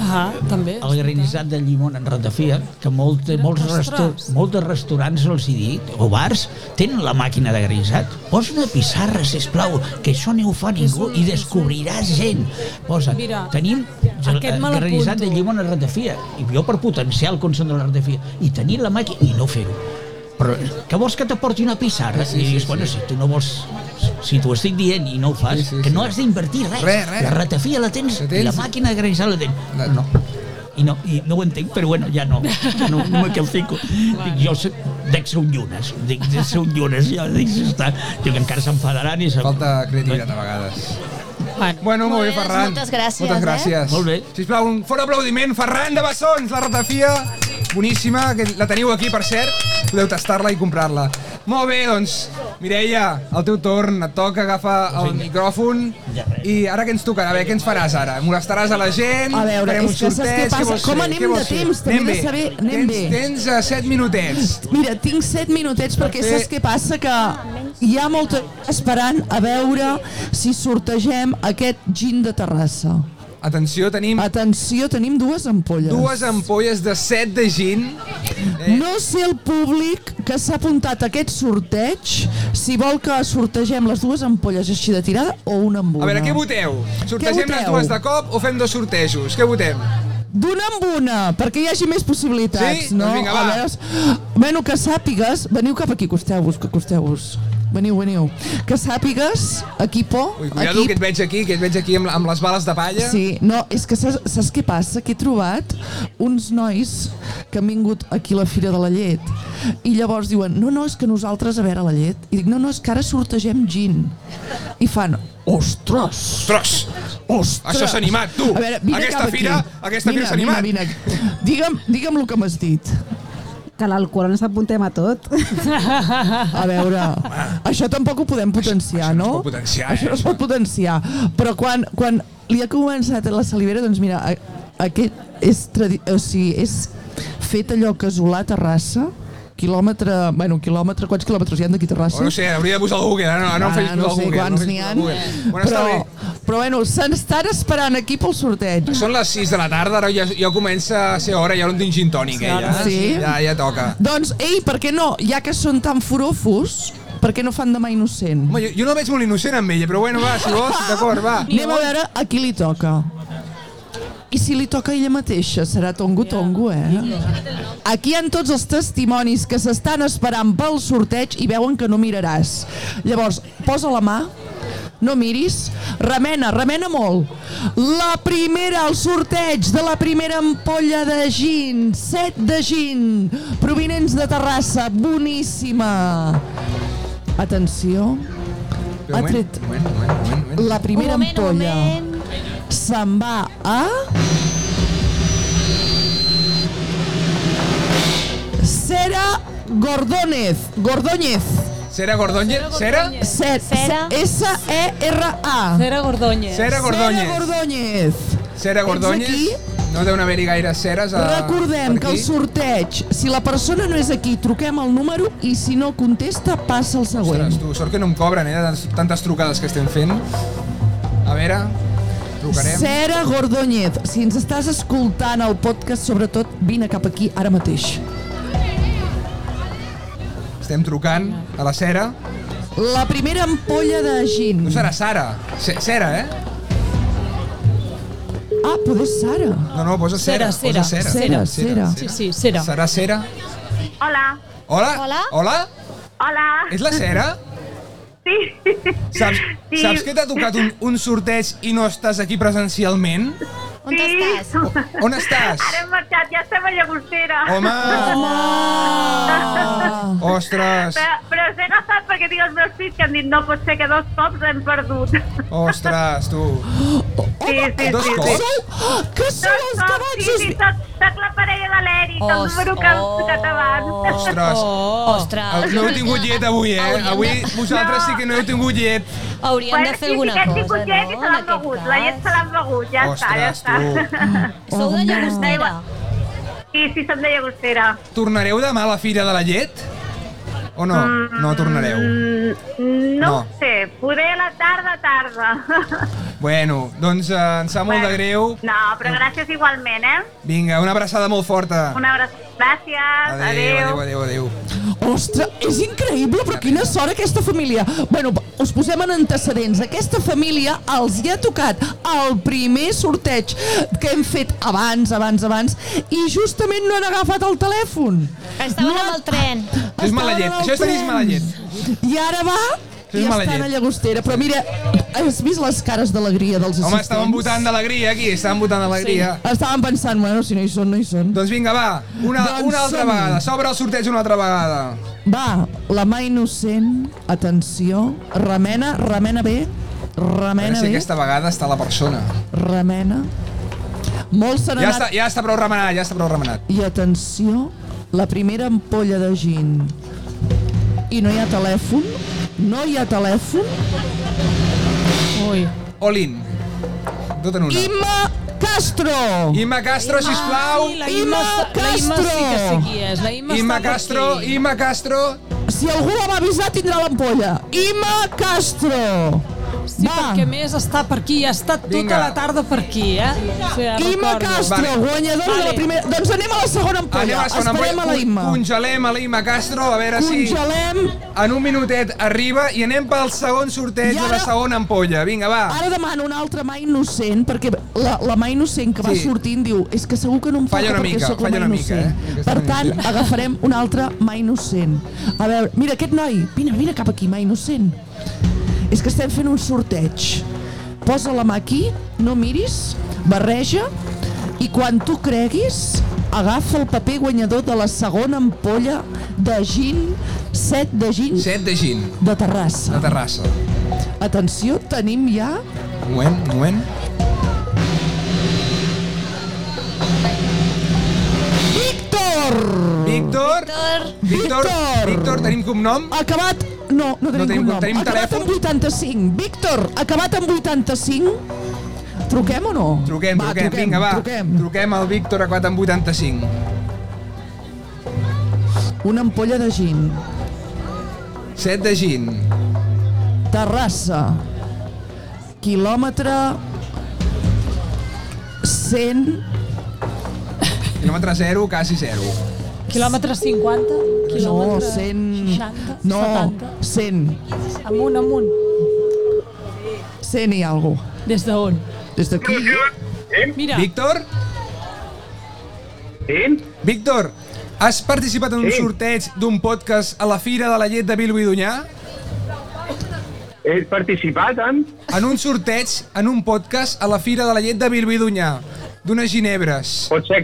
Ah, també.
el granissat de llimona en ratafia, que molt, molts, resta, molts de restaurants els hi dic, o bars, tenen la màquina de granissat. Posa una pissarra, sisplau, que això no ho fa ningú i descobriràs gent. Posa,
Mira,
tenim gel-
aquest me l'apunto.
granissat de llimona en ratafia, i jo per potenciar el consum de la ratafia, i tenir la màquina i no fer-ho. Però que vols que t'aporti una pissarra? Sí, sí, I dius, bueno, si tu no vols si t'ho estic dient i no ho fas, sí, sí, que no has d'invertir res.
Res, res.
La ratafia la tens,
tens.
i la màquina de granissat la tens. No, i no, i no ho entenc, però bueno, ja no, ja no, no me calfico. Dic, jo sé- dec ser un llunes, dic, dec ser un llunes, ja dic, ja està, dic, encara s'enfadaran i...
Falta creativitat a vegades.
Bueno,
bueno molt bé,
Doncs
Ferran.
moltes gràcies,
Moltes
eh?
gràcies.
Molt bé.
Sisplau, un fort aplaudiment. Ferran de Bassons, la ratafia. Boníssima, que la teniu aquí, per cert. Podeu tastar-la i comprar-la. Molt bé, doncs, Mireia, el teu torn. Et toca, agafa el micròfon. I ara què ens tocarà? A veure, què ens faràs ara? Molestaràs a la gent?
A veure,
Farem un
és que saps
sorteig?
què passa?
vols
Com
fer?
anem
Què vols
de
fer?
temps? També
Anem
he de
bé.
saber- anem
tens,
bé.
Tens eh, set minutets.
Mira, tinc 7 minutets perquè
fer-
saps què passa? Que hi ha molta gent esperant a veure si sortegem aquest gin de Terrassa.
Atenció, tenim...
Ah, Atenció, tenim dues ampolles. Eh.
Dues ampolles de set de gin.
No sé el públic que s'ha apuntat a aquest sorteig si vol que sortegem les dues ampolles així de tirada o una amb una.
A veure, què voteu? Sortegem les
voteu?
dues de cop o fem dos sortejos? Què votem?
D'una amb una, perquè hi hagi més possibilitats,
Sí?
no?
Doncs vinga, va.
A veure, bueno, que sàpigues, veniu cap aquí, costeu-vos, que costeu-vos. veniu, veniu. Que sàpigues, equipo...
Ui, cuidado, que et veig aquí, que et veig aquí amb, amb les bales de palla.
Sí, no, és que saps, saps què passa? Que he trobat uns nois que han vingut aquí a la Fira de la Llet i llavors diuen, no, no, és que nosaltres a veure la llet. I dic, no, no, és que ara sortegem gin. I fan, ostres!
Ostres!
Ostres!
Això s'ha animat, tu!
A veure, vine
Aquesta
cap aquí.
fira- aquesta fira s'ha
Vine,
animat.
Vine, vine. Digue'm, digue'm el que m'has dit.
Que l'alcohol ens apuntem a tot.
A veure, això tampoc ho podem potenciar, no? Això no es pot
potenciar, eh?
Això no es pot potenciar. Però quan, quan li ha començat la salivera, doncs mira, a- aquest és, tradi- o sigui, és fet allò casolà a Terrassa, quilòmetre, bueno, quilòmetre, quants quilòmetres hi ha d'aquí a Terrassa?
Oh, no sé, hauria de posar el Google, ara Ah, no, ara no,
Ara
facis
Ah, no
posar el
sé
Google.
quants
facis
n'hi ha.
posar el Google. Bueno, està
però,
bé.
però bueno, s'estan esperant aquí pel sorteig.
Són les 6 de la tarda, ara ja, ja comença a ser hora, ja no en tinc gin tònic, eh, ja.
Sí.
Ja, ja toca.
Doncs, ei, per què no? Ja que són tan forofos, per què no fan demà innocent?
Home, jo, jo no la veig molt innocent amb ella, però bueno, va, si vols, d'acord, va.
Anem a veure a qui li toca. I si li toca a ella mateixa, serà tongo-tongo, eh? Aquí hi han tots els testimonis que s'estan esperant pel sorteig i veuen que no miraràs. Llavors, posa la mà, no miris, remena, remena molt. La primera, el sorteig de la primera ampolla de gin, set de gin, provinents de Terrassa, boníssima. Atenció, ha tret la primera
Un moment, un
ampolla. Se'n va a... Sera Gordónez. Gordóñez.
Sera Gordóñez? Sera?
Ser,
Sera.
S-E-R-A.
Sera Gordóñez.
Sera Gordóñez.
Sera Gordóñez.
Cera Gordóñez.
aquí?
No deu haver-hi gaire ceres a...
Recordem que el sorteig, si la persona no és aquí, truquem el número i si no contesta, passa el següent.
Ostres, tu, sort que no em cobren, eh, de tantes- tantes trucades que estem fent. A veure, trucarem.
Sera Gordóñez, si ens estàs escoltant el podcast, sobretot vine cap aquí ara mateix.
Estem trucant a la Cera.
La primera ampolla de gin.
No serà Sara, Ce- Cera, eh?
Ah, però és Sara.
No, no, posa Cera.
Cera,
posa Cera.
Cera,
Cera.
Sí, sí, Cera.
Serà Cera?
Hola.
Hola?
Hola.
Hola?
Hola.
És la Cera?
Sí.
Saps,
Sí.
saps que t'ha tocat un, un sorteig i no estàs aquí presencialment?
On sí. estàs?
On estàs?
Ara hem marxat, ja estem a Llagostera.
Home!
Ah.
Home!
Ostres,
Però, Eh, però us he agafat perquè tinc els meus fills que han dit no pot ser que dos cops hem perdut.
ostres, tu.
Sí, sí,
Dos
sí.
cops?
sí.
Ah, Que
sou els que vaig... Sí, sí, soc, soc la parella de l'Eric,
Oh,
el
Os-
número que hem tocat abans.
Ostres.
Ostres.
Ah, No heu tingut llet avui, eh? Avui vosaltres sí que no heu tingut llet.
Hauríem
Bueno,
de fer
sí,
alguna
sí, que hem
cosa,
tingut llet i
no?
se l'han begut, la llet se l'han begut, ja està, ja
Ostres,
està.
tu.
Sou de
Llagostera. Sí, sí, som de Llagostera.
Tornareu demà a la Fira de la Llet? O no? No tornareu.
Mm, No,
No.
no. sé, poder a la tarda, tarda.
Bueno, doncs eh, em sap molt de greu.
No, però gràcies igualment, eh?
Vinga, una abraçada molt forta.
Una abraçada. Gràcies, adéu.
adéu, adéu, adéu.
Ostres, és increïble, però quina sort aquesta família. Bueno, us posem en antecedents. Aquesta família els hi ha tocat el primer sorteig que hem fet abans, abans, abans, i justament no han agafat el telèfon.
Estaven amb el tren.
Ah,
Això és mala llet, això és tenir mala llet.
I ara va
és
i
mala
estan
llet.
a Llagostera. Però mira, has vist les cares d'alegria dels assistents?
Home, estaven votant d'alegria aquí, estaven votant d'alegria.
Sí. Estaven pensant, bueno, si no hi són, no hi són.
Doncs vinga, va, Una, una altra vegada, s'obre el sorteig una altra vegada.
Va, la mà innocent, atenció, remena, remena bé,
A veure
remena
si
bé,
aquesta vegada està la persona.
remena. Molt se n'ha
Ja
anat.
està, ja està prou remenat, ja està prou remenat.
I atenció, la primera ampolla de gin. I no hi ha telèfon, no hi ha telèfon.
Ui. Olin. Tot en una.
Imma Castro!
Imma Castro, sisplau!
Ai, la Imma està- la Imma sí que sé qui és, la Imma
Imma
està per
Castro,
aquí.
Imma Castro...
Si algú la va avisar tindrà l'ampolla. Imma Castro!
Sí, Va. perquè a més està per aquí, ha estat tota
Vinga.
la tarda per aquí, eh? Sí, ja
Imma
recordo.
Castro,
Vale.
guanyadora de la primera... Doncs anem a la segona ampolla.
Anem a la segona
Esperem
ampolla.
a la Imma.
Con- Congelem a la Imma Castro, a veure
Congelem.
si... En un minutet arriba i anem pel segon sorteig
I
de la
ara-
segona ampolla. Vinga, va.
Ah. Ara demano una altra mà innocent, perquè la, la mà innocent que va
Sí.
sí. sortint diu és que segur que no em
Falla
toca
una
perquè
mica,
sóc la
falla
mà
una mica,
innocent.
eh? Aquesta
Per
una
tant,
mica.
agafarem una altra mà innocent. A veure, mira aquest noi, vine, vine cap aquí, mà innocent. És que estem fent un sorteig. Posa la mà aquí, no miris, barreja, i quan tu creguis, agafa el paper guanyador de la segona ampolla de gin, set de gin,
set de, gin.
de Terrassa.
De Terrassa.
Atenció, tenim ja
Un moment, un moment.
Víctor!
Víctor!
ah.
Víctor! Víctor, tenim cognom?
Acabat... No, no tenim,
No tenim-
cognom.
tenim
acabat
telèfon?
amb 85. Víctor, acabat amb 85. Truquem o no?
Truquem,
Va,
truquem,
truquem,
vinga, va.
truquem.
truquem al Víctor a 4 amb 85.
Una ampolla de gin.
7 de gin.
Terrassa. Quilòmetre... 100...
Quilòmetre 0, quasi 0.
Quilòmetre 50?
No,
Quilòmetre
100...
60?
No,
70?
100.
Amunt, amunt.
100 i algo.
Des d'on?
Des d'aquí.
Mira,
Víctor?
Sí?
Víctor, has participat en un
Sí.
sorteig d'un podcast a la Fira de la Llet de Bilbo i Dunyà?
He participat en...
En un sorteig, en un podcast a la Fira de la Llet de Bilbo i Dunyà, d'unes ginebres.
Pot ser,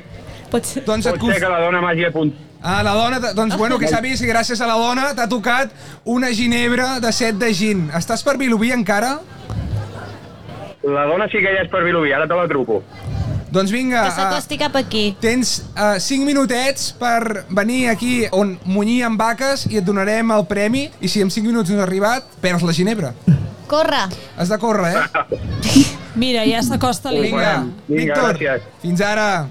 Pot ser, doncs et
pot ser que la dona m'hagi apuntat.
Ah, la dona, t- doncs bueno, que sàpigues que gràcies a la dona t'ha tocat una ginebra de set de gin. Estàs per Vilobí encara?
La dona sí que ja és per Vilobí, ara te la truco.
Doncs vinga,
Que s'acosti cap aquí.
Tens uh, 5 minutets per venir aquí on munyir amb vaques i et donarem el premi i si en 5 minuts no has arribat, perds la ginebra.
Corre.
Has de córrer, eh?
mira, ja s'acosta
Vinga,
l'Imma.
Víctor, fins ara.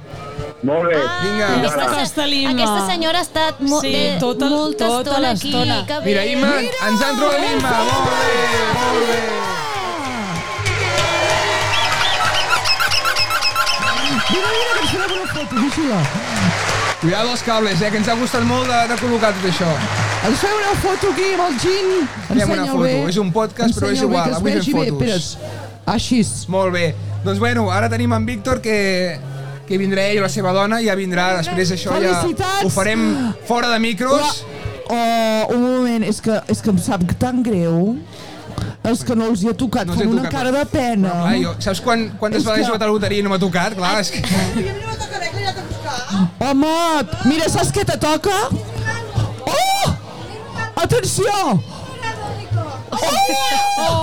Molt bé.
Vinga.
Ah, Aquesta,
S'acosta
se-
l'Imma.
aquesta senyora ha estat mo
Sí,
de,
tota-
molta
tota
estona aquí.
l'estona.
Que bé.
Mira, Imma, ens han trobat l'Imma. Molt bé, molt bé.
Mira, mira, que ens farem una foto, deixa-la.
Cuidado els cables, eh, que ens ha gustat molt de, de col·locar tot això.
Ens fem una foto aquí amb el gin.
Fem una foto. És un podcast, però és
Ensenya-ho bé,
igual.
que es
Avui
vegi
fem
bé.
fotos.
Espera's. Així.
Molt bé. Doncs bueno, ara tenim en Víctor que que vindrà ell o la seva dona, ja vindrà després això, ja
Felicitats!
ho farem fora de micros.
Oh, un moment, és que, és que em sap tan greu els que no els hi ha tocat,
No
no
els hi ha
fan una
tocat,
cara de pena.
Però, clar, jo, saps quan, quantes
És
vegades he
que-
jugat a la loteria i no m'ha tocat? Clar, és que...
Home, mira, saps què te toca? Oh! Atenció! Oh!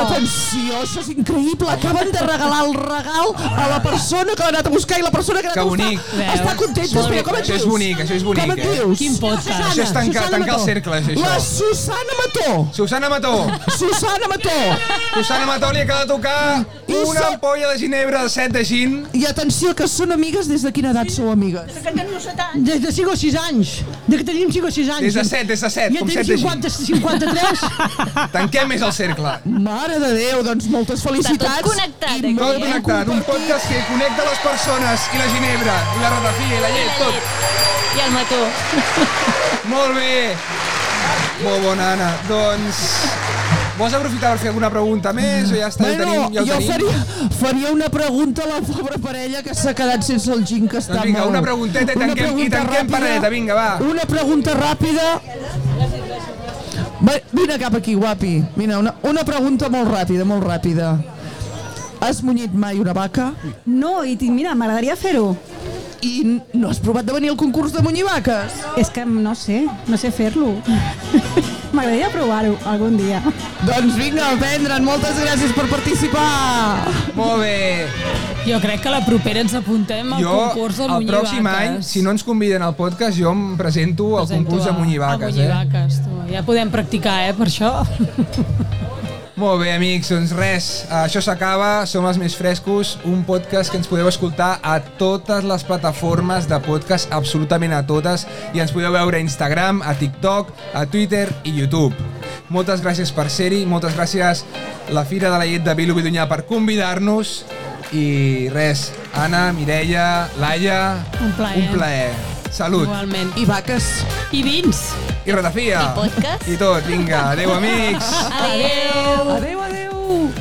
Atenció, això és increïble. Acaben de regalar el regal a la persona que l'ha anat a buscar i la persona que l'ha
Que
anat a
bonic.
buscar està contenta.
Molt bé.
Espera, com et
Això és
dius?
bonic, això és bonic,
Com et
eh?
dius?
Quin podcast.
Susana,
Això és tancar-
Susana
tancar els
Mató.
cercles, això.
La Susana Mató.
Susana Mató!
Susana Mató.
Susana Mató li acaba de tocar
I
una
so-
ampolla de ginebra de set de gin.
I atenció, que són amigues des de quina edat sou amigues?
Des de 5 o 6 anys. De que tenim 5 o 6 anys.
Des de set, des de set,
Ja
com
tenim
set de gin.
50, 53.
Tanquem més el cercle.
Mare de Déu, doncs moltes
Està
felicitats.
tot connectat, eh,
I
aquí.
Tot
molt ben
connectat, un podcast que connecta les persones i la ginebra, i la ratafia, i la llet, tot.
I el mató.
Molt bé! Molt bona, Anna. Doncs... Vols aprofitar per fer alguna pregunta més o ja està? ja
Bueno,
ho tenim, ja ho
jo
tenim.
faria, faria una pregunta a la pobra parella que s'ha quedat sense el gin que està
Doncs vinga,
molt.
una pregunteta i
Una
tanquem, i
pregunta
tanquem
ràpida.
paradeta, vinga, va.
Una pregunta ràpida. Va, Vine cap aquí, guapi. Mira, una, una pregunta molt ràpida, molt ràpida. Has munyit mai una vaca?
No, i ti- mira, m'agradaria fer-ho.
I n- no has provat de venir al concurs de munyir vaques?
És que no sé, no sé fer-lo. m'agradaria provar-ho algun dia.
Doncs vinga, a prendre'n. Moltes gràcies per participar.
Molt bé.
Jo crec que la propera ens apuntem al
Jo,
concurs del
el
Muñivaques.
pròxim any, si no ens conviden al podcast, jo em presento al concurs de Munyivaques. Eh?
Munyivaques, tu. Ja podem practicar, eh, per això.
Molt bé, amics, doncs res, això s'acaba, som els més frescos, un podcast que ens podeu escoltar a totes les plataformes de podcast, absolutament a totes, i ens podeu veure a Instagram, a TikTok, a Twitter i YouTube. Moltes gràcies per ser-hi, moltes gràcies la Fira de la Llet de Vilu Bidunyà per convidar-nos i res, Anna, Mireia, Laia...
Un plaer.
Un plaer. Salut.
Igualment.
I vaques.
I vins.
I ratafia.
I podcast.
I tot, vinga. Adéu, amics.
Adéu.
Adéu, adéu.